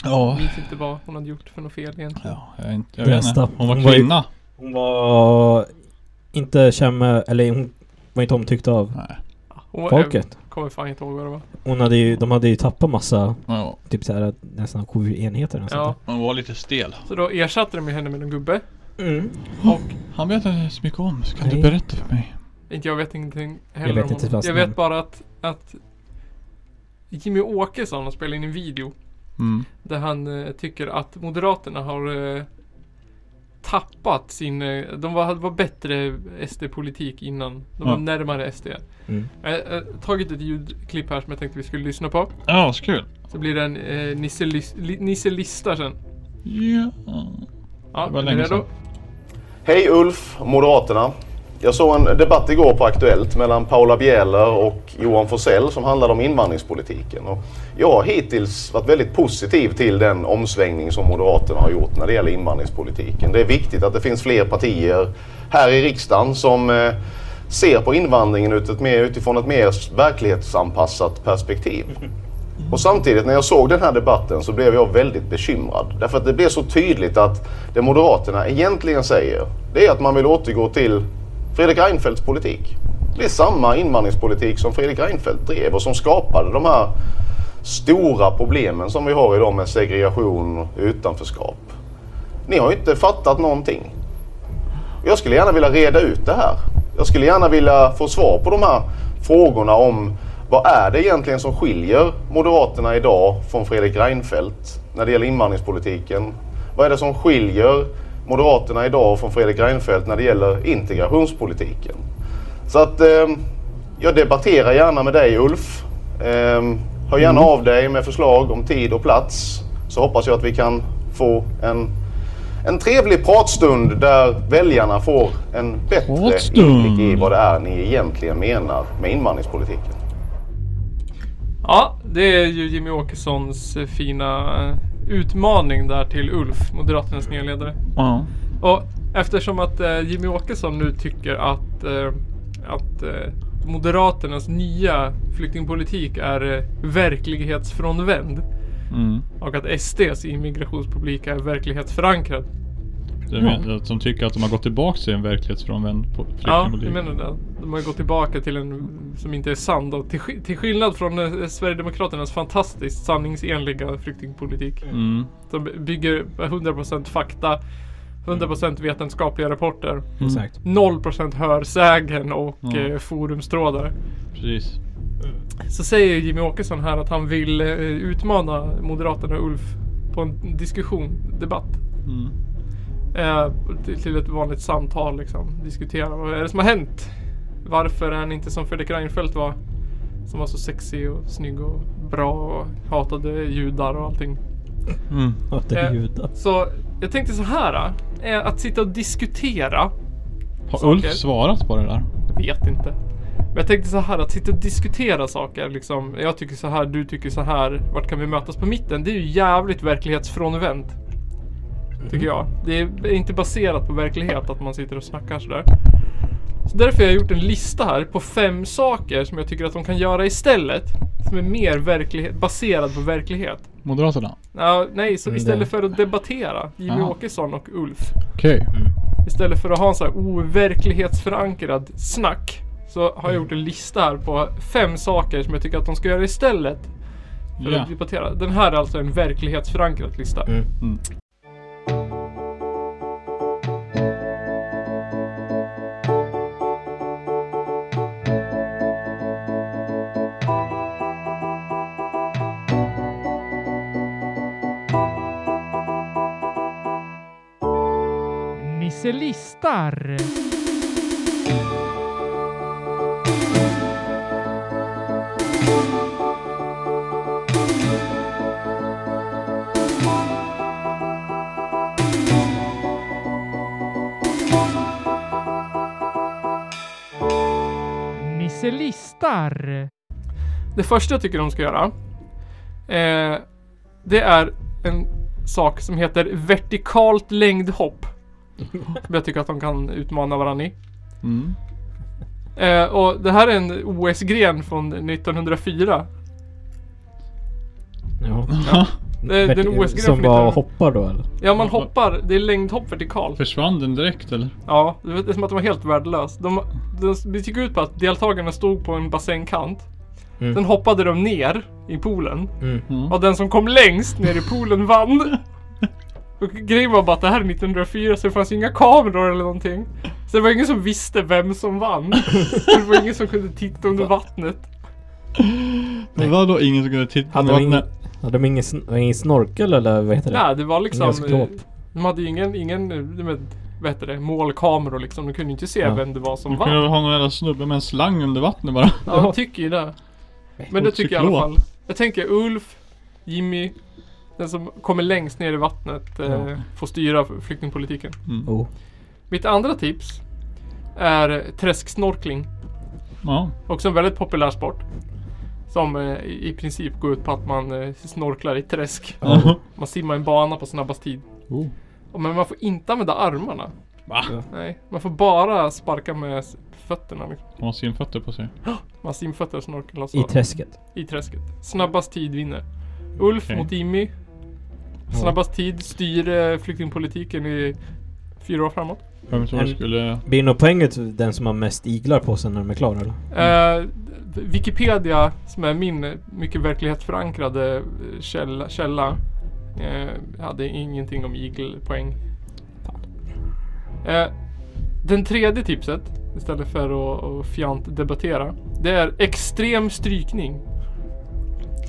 [SPEAKER 4] Ja.
[SPEAKER 2] minns inte vad hon hade gjort för något fel egentligen.
[SPEAKER 4] Ja, jag, är inte, jag vet
[SPEAKER 3] Nästa.
[SPEAKER 4] inte. Hon
[SPEAKER 3] Hon
[SPEAKER 4] var
[SPEAKER 3] var ju-
[SPEAKER 4] kvinna.
[SPEAKER 3] Hon var inte känd med, eller hon var inte omtyckt av
[SPEAKER 4] Nej.
[SPEAKER 2] Hon,
[SPEAKER 3] folket.
[SPEAKER 2] Jag kommer fan inte ihåg vad det var.
[SPEAKER 3] Hon hade ju, de hade ju tappat massa,
[SPEAKER 4] Ja,
[SPEAKER 3] typ såhär nästan KU-enheter eller
[SPEAKER 2] Ja,
[SPEAKER 3] sånt
[SPEAKER 4] hon var lite stel.
[SPEAKER 2] så då ersatte de ju henne med en gubbe.
[SPEAKER 3] där. Mm.
[SPEAKER 2] Och
[SPEAKER 4] Han vet inte så mycket om. Ska
[SPEAKER 3] Nej.
[SPEAKER 4] du berätta för mig?
[SPEAKER 2] Inte jag vet ingenting heller
[SPEAKER 3] Jag vet
[SPEAKER 2] om
[SPEAKER 3] inte
[SPEAKER 2] honom.
[SPEAKER 3] vad som
[SPEAKER 2] Jag vet
[SPEAKER 3] hände.
[SPEAKER 2] bara att, att Jimmy Åkesson har spelat in en video
[SPEAKER 4] Mm.
[SPEAKER 2] där han eh, tycker att Moderaterna har eh, tappat sin... eh, De var, var bättre SD-politik innan. De var
[SPEAKER 4] Ja.
[SPEAKER 2] närmare SD.
[SPEAKER 3] Mm.
[SPEAKER 2] Jag har tagit ett ljudklipp här som jag tänkte vi skulle lyssna på.
[SPEAKER 4] Ja, så kul.
[SPEAKER 2] Så blir det en eh, Nisse, lis, li, Nisse listar sen.
[SPEAKER 4] Ja.
[SPEAKER 2] Ja,
[SPEAKER 4] Det var
[SPEAKER 2] är ni
[SPEAKER 4] länge
[SPEAKER 2] redo?
[SPEAKER 4] sedan.
[SPEAKER 1] Hej Ulf, Moderaterna. Jag såg en debatt igår på Aktuellt mellan Paula Bieler och Johan Forsell som handlade om invandringspolitiken. Och jag har hittills varit väldigt positiv till den omsvängning som Moderaterna har gjort när det gäller invandringspolitiken. Det är viktigt att det finns fler partier här i riksdagen som eh, ser på invandringen ut ett mer- utifrån ett mer verklighetsanpassat perspektiv. Och samtidigt när jag såg den här debatten så blev jag väldigt bekymrad. Därför att det blev så tydligt att det Moderaterna egentligen säger, det är att man vill återgå till Fredrik Reinfeldts politik. Det är samma invandringspolitik som Fredrik Reinfeldt drev och som skapade de här stora problemen som vi har idag med segregation och utanförskap. Ni har ju inte fattat någonting. Jag skulle gärna vilja reda ut det här. Jag skulle gärna vilja få svar på de här frågorna om vad är det egentligen som skiljer Moderaterna idag från Fredrik Reinfeldt när det gäller invandringspolitiken? Vad är det som skiljer Moderaterna idag från Fredrik Reinfeldt när det gäller integrationspolitiken? Så att ehm, jag debatterar gärna med dig Ulf. Ehm, hör gärna av dig med förslag om tid och plats så hoppas jag att vi kan få en en trevlig pratstund där väljarna får en bättre
[SPEAKER 4] Pratstund.
[SPEAKER 1] inblick i vad det är ni egentligen menar med invandringspolitiken.
[SPEAKER 2] Ja, det är ju Jimmy Åkessons eh, fina eh, utmaning där till Ulf, Moderaternas nya ledare.
[SPEAKER 4] Ja.
[SPEAKER 2] Och eftersom att eh, Jimmy Åkesson nu tycker att, eh, att eh, Moderaternas nya flyktingpolitik är eh, verklighetsfrånvänd
[SPEAKER 4] Mm.
[SPEAKER 2] och att SDs immigrationspolitik är verklighetsförankrad.
[SPEAKER 4] Det men, att de tycker att de har gått tillbaka till en verklighetsfrånvänd po-
[SPEAKER 2] Ja,
[SPEAKER 4] flyktingpolitik.
[SPEAKER 2] jag menar det. De har ju gått tillbaka till en som inte är sann då. Till, sk- till skillnad från eh, Sverigedemokraternas fantastiskt sanningsenliga flyktingpolitik.
[SPEAKER 4] Mm.
[SPEAKER 2] Som bygger på 100% fakta, 100% vetenskapliga rapporter,
[SPEAKER 3] Exakt.
[SPEAKER 2] 0% hörsägen och
[SPEAKER 4] Mm.
[SPEAKER 2] eh, forumstrådar.
[SPEAKER 4] Precis.
[SPEAKER 2] Så säger Jimmy Åkesson här att han vill eh, utmana Moderaterna och Ulf på en diskussion, debatt.
[SPEAKER 4] Mm.
[SPEAKER 2] Eh, till, till ett vanligt samtal liksom. Diskutera vad är det som har hänt? Varför är han inte som Fredrik Reinfeldt var? Som var så sexig och snygg och bra och hatade judar och allting.
[SPEAKER 4] Mm.
[SPEAKER 3] Att det är
[SPEAKER 2] Eh,
[SPEAKER 3] judar.
[SPEAKER 2] Så jag tänkte så här. eh, Att sitta och diskutera.
[SPEAKER 4] Har Ulf
[SPEAKER 2] Saker.
[SPEAKER 4] svarat på det där?
[SPEAKER 2] Vet inte. Men jag tänkte så här att sitta och diskutera saker liksom. Jag tycker så här, du tycker så här. Vart kan vi mötas på mitten? Det är ju jävligt verklighetsfrånvänt.
[SPEAKER 3] Mm.
[SPEAKER 2] Tycker jag. Det är inte baserat på verklighet att man sitter och snackar sådär. Så därför har jag gjort en lista här på fem saker som jag tycker att de kan göra istället. Som är mer verklighet, baserad på verklighet.
[SPEAKER 4] Moderaterna?
[SPEAKER 2] Ja, nej, så
[SPEAKER 3] Mm,
[SPEAKER 2] istället
[SPEAKER 3] det-
[SPEAKER 2] för att debattera Jimmy
[SPEAKER 4] Aha.
[SPEAKER 2] Åkesson och Ulf.
[SPEAKER 4] Okej.
[SPEAKER 2] Istället för att ha en så här overklighetsförankrad snack så har jag gjort en lista här på fem saker som jag tycker att de ska göra istället för
[SPEAKER 4] Ja.
[SPEAKER 2] att debattera. Den här är alltså en verklighetsförankrad lista.
[SPEAKER 3] Mm.
[SPEAKER 4] Mm.
[SPEAKER 2] Nisse listar. Nisse listar. Det första jag tycker de ska göra. Eh, det är en sak som heter vertikalt längdhopp. Som jag tycker att de kan utmana varandra i.
[SPEAKER 4] Mm.
[SPEAKER 2] Eh, och det här är en OS-gren från Eh, 1904.
[SPEAKER 3] Ja.
[SPEAKER 2] Ja. Det- det är en
[SPEAKER 3] Verti-
[SPEAKER 2] OS-gren
[SPEAKER 3] Som
[SPEAKER 2] från
[SPEAKER 3] bara
[SPEAKER 2] 1900.
[SPEAKER 3] hoppar då eller?
[SPEAKER 2] Ja, man hoppar. Det är längdhopp vertikalt.
[SPEAKER 4] Försvann den direkt eller?
[SPEAKER 2] Ja, det är som att de var helt värdelös. De, de, det gick ut på att deltagarna stod på en bassängkant.
[SPEAKER 3] Mm.
[SPEAKER 2] Sen hoppade de ner i poolen.
[SPEAKER 3] Mm.
[SPEAKER 2] Och den som kom längst ner i poolen vann. Och grejen var bara att det här är 1904 så det fanns ju inga kameror eller någonting. Så det var ingen som visste vem som vann. Så det var ingen som kunde titta under vattnet.
[SPEAKER 4] Men vadå ingen som kunde titta?
[SPEAKER 3] Hade
[SPEAKER 4] på
[SPEAKER 3] de ingen,
[SPEAKER 4] vattnet?
[SPEAKER 3] hade de ingen, sn- ingen snorkel eller vad heter det?
[SPEAKER 2] Nej, det var liksom...
[SPEAKER 3] Ingen skrop.
[SPEAKER 2] eh, De hade ju ingen, ingen du vet, vad heter det, målkameror liksom. De kunde ju inte se
[SPEAKER 4] Ja.
[SPEAKER 2] vem det var som
[SPEAKER 4] Du kunde
[SPEAKER 2] vann.
[SPEAKER 4] väl ha någon jävla snubbe med en slang under vattnet bara.
[SPEAKER 2] Ja, jag tycker ju det. Men det tycker jag i alla fall.
[SPEAKER 4] Cyklop.
[SPEAKER 2] Jag tänker Ulf, Jimmy, den som kommer längst ner i vattnet eh,
[SPEAKER 3] Ja.
[SPEAKER 2] får styra flyktingpolitiken.
[SPEAKER 3] Oh.
[SPEAKER 2] Mitt andra tips är träsksnorkling.
[SPEAKER 4] Ja.
[SPEAKER 2] Också en väldigt populär sport. Som eh, i i princip går ut på att man eh, snorklar i träsk.
[SPEAKER 4] Ja.
[SPEAKER 2] Man simmar i en bana på snabbast tid.
[SPEAKER 4] Oh.
[SPEAKER 2] Och Men man får inte använda armarna.
[SPEAKER 4] Va?
[SPEAKER 2] Nej, man får bara sparka med s- fötterna. Liksom.
[SPEAKER 4] Har man simfötter på sig?
[SPEAKER 2] Man har simfötter och snorklar så.
[SPEAKER 3] I träsket.
[SPEAKER 2] I träsket. Snabbast tid vinner. Ulf
[SPEAKER 4] Okej.
[SPEAKER 2] mot Jimmy. Snabbast tid styr eh, flyktingpolitiken i fyra år framåt.
[SPEAKER 4] Jag tror
[SPEAKER 3] En-
[SPEAKER 4] jag skulle...
[SPEAKER 3] Blir nog poänget den som har mest iglar på sig när de är klara eller?
[SPEAKER 2] Eh, Wikipedia, som är min eh, mycket verklighetsförankrade eh, källa, källa eh, hade ingenting om igelpoäng.
[SPEAKER 3] Fan.
[SPEAKER 2] Eh, den tredje tipset, istället för att, att fjant debattera, det är extrem strykning.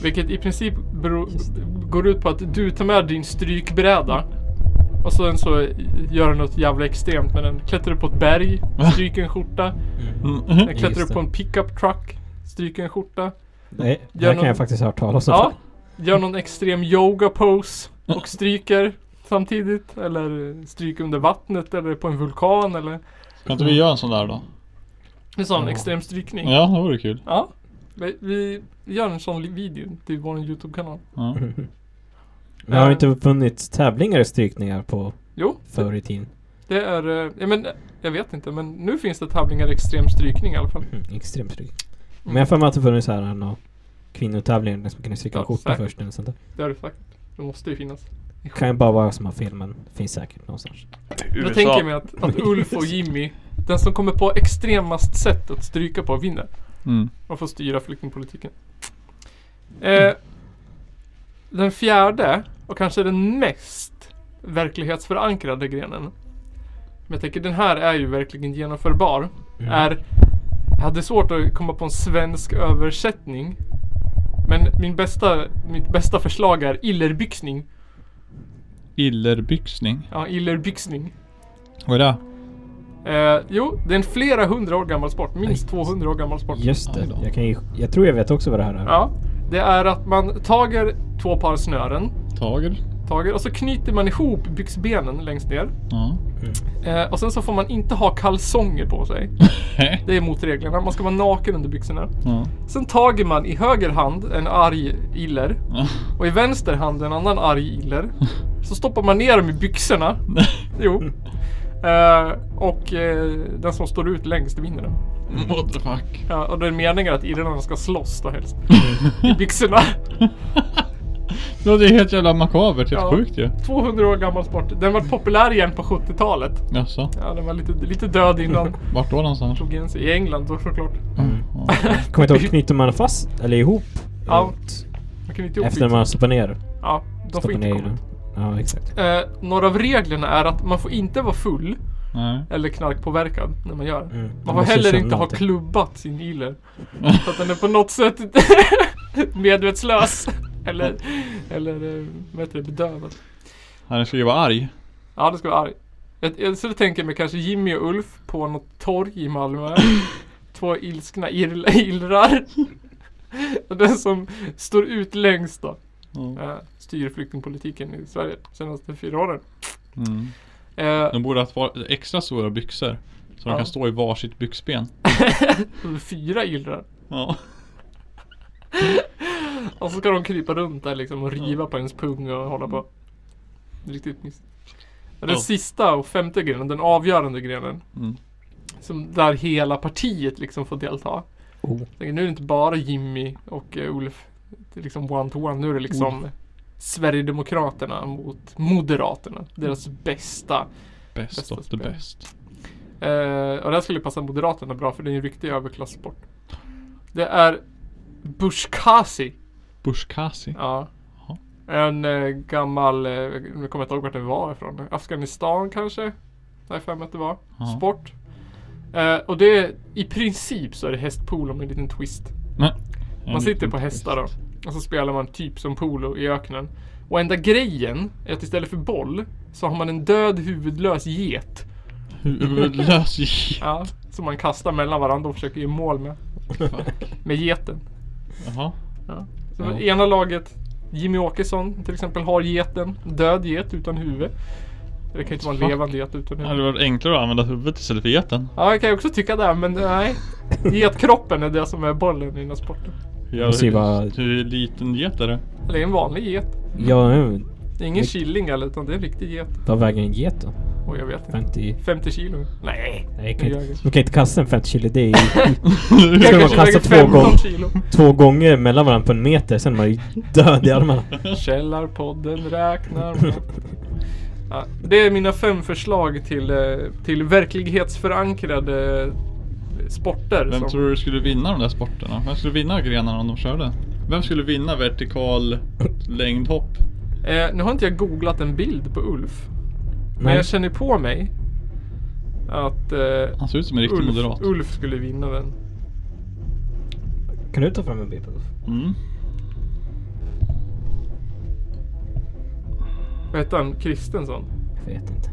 [SPEAKER 2] Vilket i princip beror, går ut på att du tar med din strykbräda och sen så gör du något jävla extremt med den. Klättrar upp på ett berg, stryker en skjorta.
[SPEAKER 4] Mm.
[SPEAKER 2] Jag klättrar
[SPEAKER 3] Just
[SPEAKER 2] upp på
[SPEAKER 3] det.
[SPEAKER 2] en pickup truck, stryker en skorta,
[SPEAKER 3] Nej, det
[SPEAKER 2] Gör
[SPEAKER 3] här kan
[SPEAKER 2] någon-
[SPEAKER 3] jag faktiskt ha hört talas om.
[SPEAKER 2] ja, gör någon extrem yoga pose och stryker samtidigt. Eller stryker under vattnet eller på en vulkan eller
[SPEAKER 4] Kan inte vi göra en sån där då?
[SPEAKER 2] en sån
[SPEAKER 3] Ja.
[SPEAKER 2] extrem strykning.
[SPEAKER 4] Ja, det vore kul.
[SPEAKER 2] Ja. Vi- Vi gör en sån li- video till vår YouTube-kanal.
[SPEAKER 4] Ja.
[SPEAKER 3] Men har det
[SPEAKER 2] Eh.
[SPEAKER 3] inte funnits tävlingar i strykningar på
[SPEAKER 2] Jo,
[SPEAKER 3] förr i tiden?
[SPEAKER 2] det är, eh, ja men eh, jag vet inte men nu finns det tävlingar i extrem strykning i alla fall.
[SPEAKER 3] Mm, extremt strykning. Men jag har för mig att det funnits så här några kvinnotävlingar där man kunde stryka
[SPEAKER 2] Mm. Ja,
[SPEAKER 3] en skjorta
[SPEAKER 2] säkert.
[SPEAKER 3] först eller sånt där.
[SPEAKER 2] Det har du sagt. Det måste ju finnas.
[SPEAKER 3] Kan ju bara vara som har fel men finns säkert någonstans.
[SPEAKER 4] Mm.
[SPEAKER 2] Jag tänker mig att, att Ulf och Jimmy, den som kommer på extremast sätt att stryka på vinner.
[SPEAKER 4] Mm.
[SPEAKER 2] Man får styra flyktingpolitiken. Eh, den fjärde och kanske den mest verklighetsförankrade grenen. Men jag tänker den här är ju verkligen genomförbar.
[SPEAKER 3] Mm.
[SPEAKER 2] Är, jag hade svårt att komma på en svensk översättning. Men min bästa, mitt bästa förslag är illerbyxning.
[SPEAKER 4] Illerbyxning.
[SPEAKER 2] Ja, illerbyxning.
[SPEAKER 4] Vad är det?
[SPEAKER 2] Eh, jo, det är en flera hundra år gammal sport. Minst
[SPEAKER 3] Aj.
[SPEAKER 2] 200 år gammal sport.
[SPEAKER 3] Just
[SPEAKER 4] Aj då.
[SPEAKER 3] det. Jag, kan ju, jag tror jag vet också vad det här är.
[SPEAKER 2] Ja, det är att man tager två par snören.
[SPEAKER 4] Tager?
[SPEAKER 2] taget och så knyter man ihop byxbenen längst ner.
[SPEAKER 4] Ja.
[SPEAKER 2] Eh, och sen så får man inte ha kalsonger på sig. Det är mot reglerna. Man ska vara naken under byxorna.
[SPEAKER 4] ja.
[SPEAKER 2] Sen tager man i höger hand en arg iller
[SPEAKER 4] Ja.
[SPEAKER 2] och i vänster hand en annan arg iller. Så stoppar man ner dem i byxorna. Jo. Eh, och eh, den som står ut längst vinner den.
[SPEAKER 4] What the fuck?
[SPEAKER 2] Ja, och det är meningen att irrarna ska slåss då helst. I byxorna.
[SPEAKER 4] Det är helt jävla makabert. Helt
[SPEAKER 2] Ja.
[SPEAKER 4] sjukt ju.
[SPEAKER 2] 200 år gammal sport. Den var populär igen på 70-talet.
[SPEAKER 4] Jaså?
[SPEAKER 2] Ja, den var lite, lite död innan.
[SPEAKER 4] Vart då någonstans?
[SPEAKER 2] drog igen sig. I England då såklart.
[SPEAKER 4] Ja.
[SPEAKER 3] Kommer inte ihåg, knyter man fast eller ihop?
[SPEAKER 2] Ja,
[SPEAKER 3] runt
[SPEAKER 2] Man kan inte ihop
[SPEAKER 3] efter man har stoppat ner?
[SPEAKER 2] Ja, de får
[SPEAKER 3] Stoppat
[SPEAKER 2] inte
[SPEAKER 3] ner
[SPEAKER 2] komma.
[SPEAKER 3] den. Ja, exakt.
[SPEAKER 2] Eh, några av reglerna är att man får inte vara full
[SPEAKER 4] Nej.
[SPEAKER 2] eller knarkpåverkad när man gör.
[SPEAKER 3] Mm.
[SPEAKER 2] Man
[SPEAKER 3] Man
[SPEAKER 2] får
[SPEAKER 3] måste
[SPEAKER 2] heller
[SPEAKER 3] känna
[SPEAKER 2] inte ha
[SPEAKER 3] någonting.
[SPEAKER 2] klubbat sin dealer. Så att den är på något sätt medvetslös. eller, eller eh, vad heter det, bedövad.
[SPEAKER 4] Han ska ju vara arg.
[SPEAKER 2] Ja, det ska vara arg. Jag, jag, så tänker jag mig kanske Jimmy och Ulf på något torg i Malmö. Två ilskna irl- illrar. och den som står ut längst då.
[SPEAKER 4] Ja.
[SPEAKER 2] eh, styr flyktingpolitiken i Sverige de senaste fyra åren.
[SPEAKER 4] Mm.
[SPEAKER 2] Eh,
[SPEAKER 4] De borde ha ett par extra stora byxor. Så
[SPEAKER 2] Ja.
[SPEAKER 4] de kan stå i varsitt byxben.
[SPEAKER 2] Eh, fyra illrar.
[SPEAKER 4] Ja.
[SPEAKER 2] Och så ska de krypa runt där liksom och
[SPEAKER 4] Mm.
[SPEAKER 2] riva på ens pung och hålla på. Det är Riktigt miss. Den
[SPEAKER 4] Ja.
[SPEAKER 2] sista och femte grenen, den avgörande grenen.
[SPEAKER 4] Mm.
[SPEAKER 2] Som där hela partiet liksom får delta.
[SPEAKER 3] Oh.
[SPEAKER 2] Jag tänker, Nu är det inte bara Jimmy och eh, Ulf. Det är liksom one to one. Nu är det liksom Sverigedemokraterna mot Moderaterna. Deras bästa
[SPEAKER 4] Best
[SPEAKER 2] Bästa
[SPEAKER 4] of the
[SPEAKER 2] spel.
[SPEAKER 4] best.
[SPEAKER 2] Eh, och det här skulle passa Moderaterna bra för det är en riktig överklassport. Det är Bushkasi.
[SPEAKER 4] Bushkasi.
[SPEAKER 2] Ja.
[SPEAKER 4] Jaha.
[SPEAKER 2] En eh, gammal, eh, nu kommer jag inte ihåg vart den var ifrån. Afghanistan kanske? Har jag för mig att det var.
[SPEAKER 4] Ja.
[SPEAKER 2] Sport. Eh, och det är i princip så är det hästpolo med en liten twist.
[SPEAKER 4] Nej.
[SPEAKER 2] Man sitter på hästar då. Och så spelar man typ som polo i öknen. Och enda grejen är att istället för boll så har man en död huvudlös get.
[SPEAKER 4] Huvudlös i...
[SPEAKER 2] Ja, som man kastar mellan varandra och försöker ge mål med. Med geten.
[SPEAKER 4] Jaha.
[SPEAKER 2] Ja. Så
[SPEAKER 4] Ja.
[SPEAKER 2] ena laget, Jimmy Åkesson till exempel, har geten. Död get utan huvud. Det kan inte vara en
[SPEAKER 4] Fuck.
[SPEAKER 2] levande get utan
[SPEAKER 4] Det
[SPEAKER 2] huvud.
[SPEAKER 4] hade varit enklare att använda huvudet istället för geten.
[SPEAKER 2] Ja, jag kan ju också tycka det, men nej. Getkroppen är det som är bollen i den här sporten.
[SPEAKER 4] Jag
[SPEAKER 3] måste ju vara-
[SPEAKER 4] Hur liten get är det?
[SPEAKER 2] Eller en vanlig get.
[SPEAKER 3] Ja, nu.
[SPEAKER 2] Det är ingen
[SPEAKER 3] Det-
[SPEAKER 2] killing eller utan det är en riktig get.
[SPEAKER 3] Vad väger en get då?
[SPEAKER 2] Och jag vet inte.
[SPEAKER 3] 50?
[SPEAKER 2] 50 kilo? Nej.
[SPEAKER 3] Nej, jag kan
[SPEAKER 2] Jag-
[SPEAKER 3] inte, du kan inte kasta en 50 kilo. Det är ju
[SPEAKER 2] Jag
[SPEAKER 3] man
[SPEAKER 2] kanske
[SPEAKER 3] kasta
[SPEAKER 2] väger
[SPEAKER 3] två
[SPEAKER 2] 15
[SPEAKER 3] gånger?
[SPEAKER 2] kilo.
[SPEAKER 3] två gånger mellan varandra på en meter. Sen är man ju död i armarna.
[SPEAKER 2] Källarpodden räknar med. Ja, det är mina fem förslag till, eh, till verklighetsförankrade eh, sporter.
[SPEAKER 4] Vem
[SPEAKER 2] som-
[SPEAKER 4] tror du skulle vinna de där sporterna? Vem skulle vinna grenarna om de körde? Vem skulle vinna vertikal längdhopp?
[SPEAKER 2] Eh, nu har inte jag googlat en bild på Ulf. Men
[SPEAKER 3] Nej.
[SPEAKER 2] jag känner på mig att eh,
[SPEAKER 4] Han ser ut som en riktig
[SPEAKER 2] Ulf,
[SPEAKER 4] moderat.
[SPEAKER 2] Ulf skulle vinna den.
[SPEAKER 3] Kan du ta fram en bild på det?
[SPEAKER 4] Mm.
[SPEAKER 2] Vad hette han? Kristensson?
[SPEAKER 3] Jag vet inte.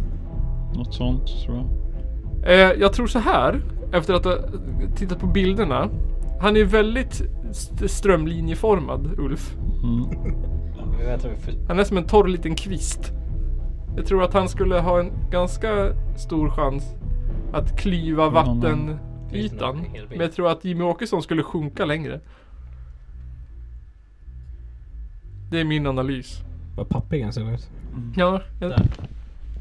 [SPEAKER 4] Något sånt tror jag.
[SPEAKER 2] Eh, jag tror så här, efter att ha tittat på bilderna. Han är väldigt st- strömlinjeformad, Ulf.
[SPEAKER 4] Mm.
[SPEAKER 2] Han är som en torr liten kvist. Jag tror att han skulle ha en ganska stor chans att klyva
[SPEAKER 4] honom.
[SPEAKER 2] vattenytan.
[SPEAKER 3] Finns det någon
[SPEAKER 2] Men jag tror att Jimmy Åkesson skulle sjunka längre. Det är min analys.
[SPEAKER 3] Vad pappig han såg ut.
[SPEAKER 2] Ja, jag
[SPEAKER 3] Där.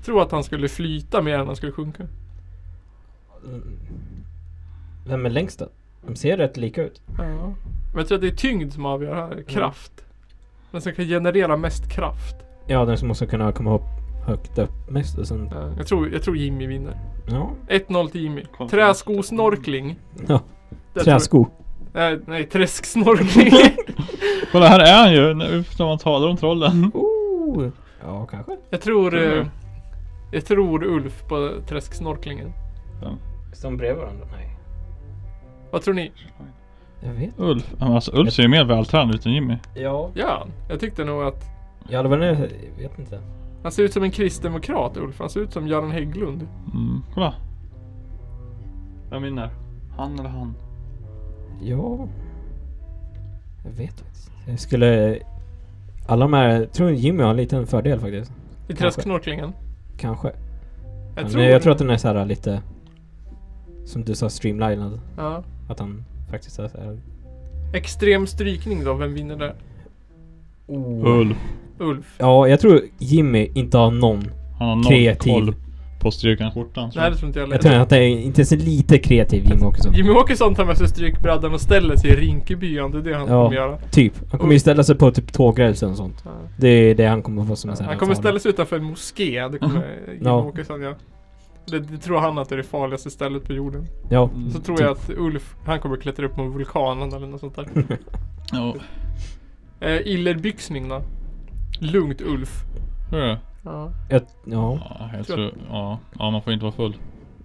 [SPEAKER 2] tror att han skulle flyta mer än han skulle sjunka.
[SPEAKER 3] Mm. Vem är längst då? De ser rätt lika ut.
[SPEAKER 2] Ja. Men jag tror att det är tyngd som avgör
[SPEAKER 3] Mm.
[SPEAKER 2] här. Kraft. Den som kan generera mest kraft.
[SPEAKER 3] Ja, den som måste kunna komma upp högt upp mest och sen...
[SPEAKER 2] Ja, Jag tror, jag tror Jimmy vinner.
[SPEAKER 3] Ja.
[SPEAKER 2] 1-0 till Jimmy.
[SPEAKER 4] Konstigt.
[SPEAKER 2] Träskosnorkling.
[SPEAKER 3] ja.
[SPEAKER 2] Där tror jag-
[SPEAKER 3] Träsko.
[SPEAKER 2] Nej, nej träsksnorkling.
[SPEAKER 4] Kolla här är han ju! när- När man talar om
[SPEAKER 2] Mm.
[SPEAKER 4] trollen.
[SPEAKER 3] Oh. Ja, kanske.
[SPEAKER 2] jag tror...
[SPEAKER 4] Tror du?
[SPEAKER 2] Eh, jag tror Ulf på träsksnorklingen.
[SPEAKER 3] Som bredvid varandra? Nej.
[SPEAKER 2] Vad tror ni?
[SPEAKER 3] Jag vet.
[SPEAKER 4] Ulf. Ja, men Alltså Ulf ser ju mer vältränad ut än Jimmy.
[SPEAKER 3] Ja.
[SPEAKER 2] Ja, jag tyckte nog att...
[SPEAKER 3] Ja, det var nu. Jag vet inte.
[SPEAKER 2] Han ser ut som en kristdemokrat Ulf. Han ser ut som Göran Hägglund.
[SPEAKER 4] Mm. Kolla. Vem vinner? Han eller han?
[SPEAKER 3] Ja. Jag vet faktiskt. Jag skulle... Alla de här... Jag tror Jimmy har en liten fördel faktiskt.
[SPEAKER 2] I träsksnorklingen.
[SPEAKER 3] Kanske.
[SPEAKER 2] Jag
[SPEAKER 3] Men
[SPEAKER 2] tror...
[SPEAKER 3] jag tror att den är så här lite... Som du sa, streamlinad.
[SPEAKER 2] Ja.
[SPEAKER 3] Att han faktiskt är så här...
[SPEAKER 2] Extrem strykning då, vem vinner där?
[SPEAKER 4] Ulf.
[SPEAKER 2] Ulf.
[SPEAKER 3] Ja, jag tror Jimmy inte har någon.
[SPEAKER 4] Han har noll
[SPEAKER 3] Kreativ.
[SPEAKER 4] koll på styrkan skjortan. tror
[SPEAKER 2] Nej
[SPEAKER 4] jag.
[SPEAKER 2] det tror inte jag
[SPEAKER 3] Jag tror
[SPEAKER 2] heller.
[SPEAKER 3] att han är inte ens lite kreativ Jimmy Åkesson.
[SPEAKER 2] Jimmy Åkesson tar med sig strykbrädan och ställer sig i Rinkeby om det är det han
[SPEAKER 3] Ja.
[SPEAKER 2] kommer göra.
[SPEAKER 3] Typ. Han kommer ju ställa sig på typ tågrälsen och sånt.
[SPEAKER 2] Ja.
[SPEAKER 3] Det är det han kommer få som en sån här
[SPEAKER 2] Han kommer
[SPEAKER 3] farlig.
[SPEAKER 2] ställa sig utanför en moské. Det kommer Jimmy
[SPEAKER 3] Ja.
[SPEAKER 2] Åkesson göra. Det, det tror han att det är det farligaste stället på jorden.
[SPEAKER 3] Ja.
[SPEAKER 4] Mm.
[SPEAKER 2] Så tror jag att Ulf, han kommer klättra upp på vulkanen eller något sånt där.
[SPEAKER 4] Ja.
[SPEAKER 2] Eh, Illerbyxning då? Lugnt Ulf.
[SPEAKER 4] Hur är det?
[SPEAKER 2] Ja.
[SPEAKER 3] Jag, ja.
[SPEAKER 4] Ja, jag
[SPEAKER 2] Tror
[SPEAKER 4] tror... Ja. ja, man får inte vara full.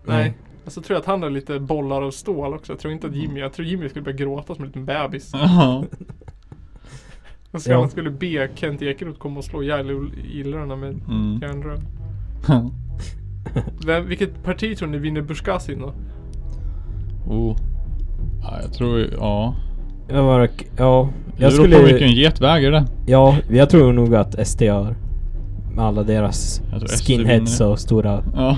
[SPEAKER 2] Nej. Och så tror jag att han har lite bollar av stål också. Jag tror inte att Jimmy, jag tror Jimmy skulle börja gråta som en liten bebis.
[SPEAKER 4] Ja.
[SPEAKER 2] Och så
[SPEAKER 3] Ja.
[SPEAKER 2] han skulle be Kent Ekeroth komma och slå ihjäl Ul- illrarna med
[SPEAKER 4] Mm.
[SPEAKER 2] järnrör. Vem, vilket parti tror ni vinner Buskasin då?
[SPEAKER 4] Oh. Ja, jag tror... Ja.
[SPEAKER 3] Jag var, ja.
[SPEAKER 4] Jag
[SPEAKER 3] Jag
[SPEAKER 4] det beror på
[SPEAKER 3] skulle...
[SPEAKER 4] vilken get väger det.
[SPEAKER 3] Ja, jag tror nog att SD gör. Med alla deras
[SPEAKER 4] Jag tror SD
[SPEAKER 3] skinheads
[SPEAKER 4] vinner.
[SPEAKER 3] och stora...
[SPEAKER 4] Ja.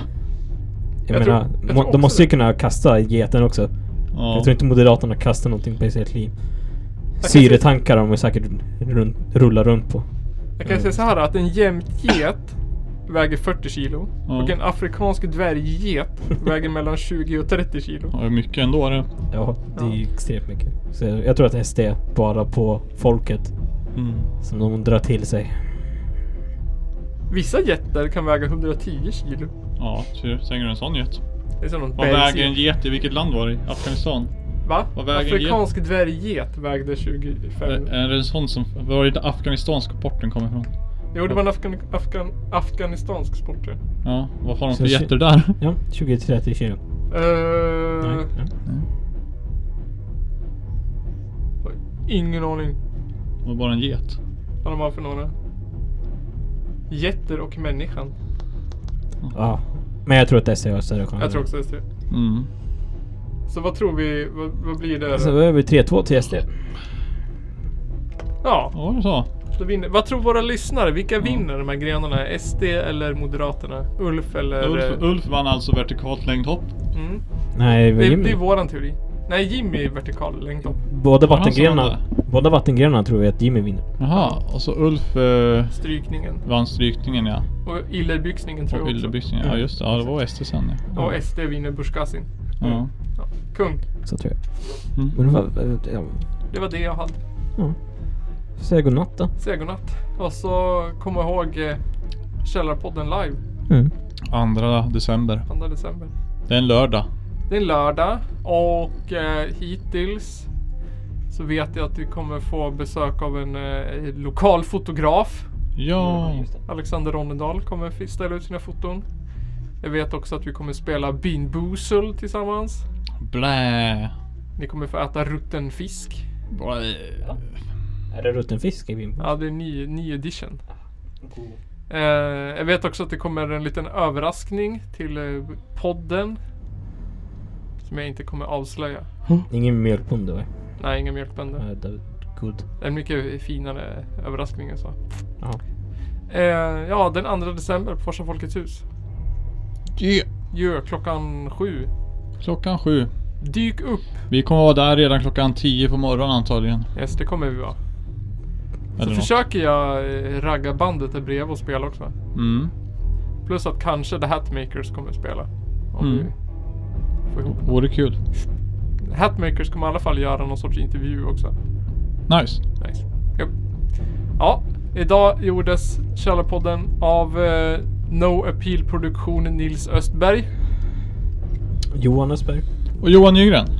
[SPEAKER 3] Jag,
[SPEAKER 2] Jag tror-
[SPEAKER 3] menar,
[SPEAKER 2] jag
[SPEAKER 3] må,
[SPEAKER 2] tror också
[SPEAKER 3] de måste ju
[SPEAKER 2] det.
[SPEAKER 3] kunna kasta geten också.
[SPEAKER 4] ja.
[SPEAKER 3] Jag tror inte Moderaterna kastar någonting på i sitt liv.
[SPEAKER 2] Jag kan
[SPEAKER 3] Syretankar de är säkert runt, rullar runt på.
[SPEAKER 2] Jag kan säga så här att en jämtget väger 40 kilo.
[SPEAKER 4] Ja.
[SPEAKER 2] Och en afrikansk dvärgget väger mellan 20 och 30 kilo.
[SPEAKER 4] Ja, det är mycket ändå det.
[SPEAKER 3] Ja, det är ju
[SPEAKER 2] Ja.
[SPEAKER 3] extremt mycket. Så jag jag tror att SD bara på folket
[SPEAKER 4] Mm.
[SPEAKER 3] som de drar till sig.
[SPEAKER 2] Vissa getter kan väga 110 kilo.
[SPEAKER 4] Ja, ser slänger du en sån get?
[SPEAKER 2] Det är som någon
[SPEAKER 4] Vad väger en
[SPEAKER 2] bergsget.
[SPEAKER 4] get i vilket land var det? Afghanistan?
[SPEAKER 2] Va?
[SPEAKER 4] vad väger en
[SPEAKER 2] Afrikansk dvärgget vägde
[SPEAKER 4] Är
[SPEAKER 2] 25.
[SPEAKER 4] är det en sån som... Var det inte afghanistansk sporten kommer ifrån?
[SPEAKER 2] Jo, det var en afghan, afghan, afghanistansk sport tror jag.
[SPEAKER 4] Ja, vad har de för
[SPEAKER 3] Så-
[SPEAKER 4] getter där?
[SPEAKER 3] Ja, 20-30 kilo.
[SPEAKER 2] Eh,
[SPEAKER 3] Nej, nej.
[SPEAKER 2] Ingen aning
[SPEAKER 4] Det var bara en get.
[SPEAKER 2] vad de har för några. Getter och människan.
[SPEAKER 3] Ja. Men jag tror att E SD har större chans.
[SPEAKER 2] Jag tror också SD.
[SPEAKER 4] Mm.
[SPEAKER 2] Så vad tror vi? Vad, vad blir det?
[SPEAKER 3] Alltså, då är vi 3-2 till SD.
[SPEAKER 2] Ja,
[SPEAKER 4] Ja, det är så.
[SPEAKER 2] då vinner. Vad tror våra lyssnare? Vilka vinner de här grenarna? SD eller Moderaterna? Ulf eller...
[SPEAKER 4] Ulf, Ulf vann alltså vertikalt längdhopp.
[SPEAKER 2] Mm.
[SPEAKER 3] Nej,
[SPEAKER 2] Det,
[SPEAKER 3] Jimmy.
[SPEAKER 2] det är våran teori. Nej, Jimmy är vertikal längdhopp.
[SPEAKER 3] Båda
[SPEAKER 4] Var det han som
[SPEAKER 3] vattengrenarna. Båda vattengrenarna tror vi att Jimmy vinner.
[SPEAKER 4] Jaha, och så Ulf eh,
[SPEAKER 2] Strykningen.
[SPEAKER 4] vann strykningen ja.
[SPEAKER 2] Och illerbyxningen tror
[SPEAKER 4] Och
[SPEAKER 2] jag också.
[SPEAKER 4] yllebyxningen. Ja just det, ja, det var SD sen ja.
[SPEAKER 2] Och SD vinner Bushkasin.
[SPEAKER 4] ja.
[SPEAKER 2] Ja. Kung.
[SPEAKER 3] Så tror jag.
[SPEAKER 4] Mm.
[SPEAKER 3] Men vad... eh, Ja.
[SPEAKER 2] Det var det jag hade.
[SPEAKER 3] ja. Får Säga godnatt då.
[SPEAKER 2] Säg godnatt. Och så kom ihåg eh, Källarpodden live.
[SPEAKER 3] Mm.
[SPEAKER 4] Andra december.
[SPEAKER 2] 2 december.
[SPEAKER 4] Det är en lördag.
[SPEAKER 2] Det är en lördag och eh, hittills så vet jag att vi kommer få besök av en eh, lokal fotograf.
[SPEAKER 4] Ja.
[SPEAKER 2] Alexander Ronnedal kommer fi- ställa ut sina foton. Jag vet också att vi kommer spela Bean Boozled tillsammans.
[SPEAKER 4] Blä.
[SPEAKER 2] Ni kommer få äta rutten fisk.
[SPEAKER 4] Blä.
[SPEAKER 3] Är det rutten fisk i min
[SPEAKER 2] Ja, det är ny, ny edition. Eh, jag vet också att det kommer en liten överraskning till eh, podden. Som jag inte kommer avslöja.
[SPEAKER 3] Ingen mjölkbonde va?
[SPEAKER 2] Nej, inga mjölkbönder.
[SPEAKER 3] Eh, David Good.
[SPEAKER 2] Det är en mycket finare överraskning än så.
[SPEAKER 3] Ja.
[SPEAKER 2] Eh, ja, den 2 december på Forsa Folkets hus.
[SPEAKER 4] Yeah.
[SPEAKER 2] Gör klockan sju.
[SPEAKER 4] Klockan sju.
[SPEAKER 2] Dyk upp!
[SPEAKER 4] Vi kommer vara där redan klockan 10 på morgonen antagligen.
[SPEAKER 2] Yes, det kommer vi vara. Så
[SPEAKER 4] Eller nåt.
[SPEAKER 2] försöker jag eh, ragga bandet där bredvid och spela också.
[SPEAKER 4] Mm.
[SPEAKER 2] Plus att kanske The Hatmakers kommer spela. Om
[SPEAKER 4] Mm.
[SPEAKER 2] vi får ihop.
[SPEAKER 4] Vore kul.
[SPEAKER 2] Hatmakers kommer i alla fall göra någon sorts intervju också.
[SPEAKER 4] Nice.
[SPEAKER 2] Nice. Japp. Ja, idag gjordes Källarpodden av eh, No Appeal Produktion Nils Östberg.
[SPEAKER 3] Johan Östberg.
[SPEAKER 4] Och Johan Nygren.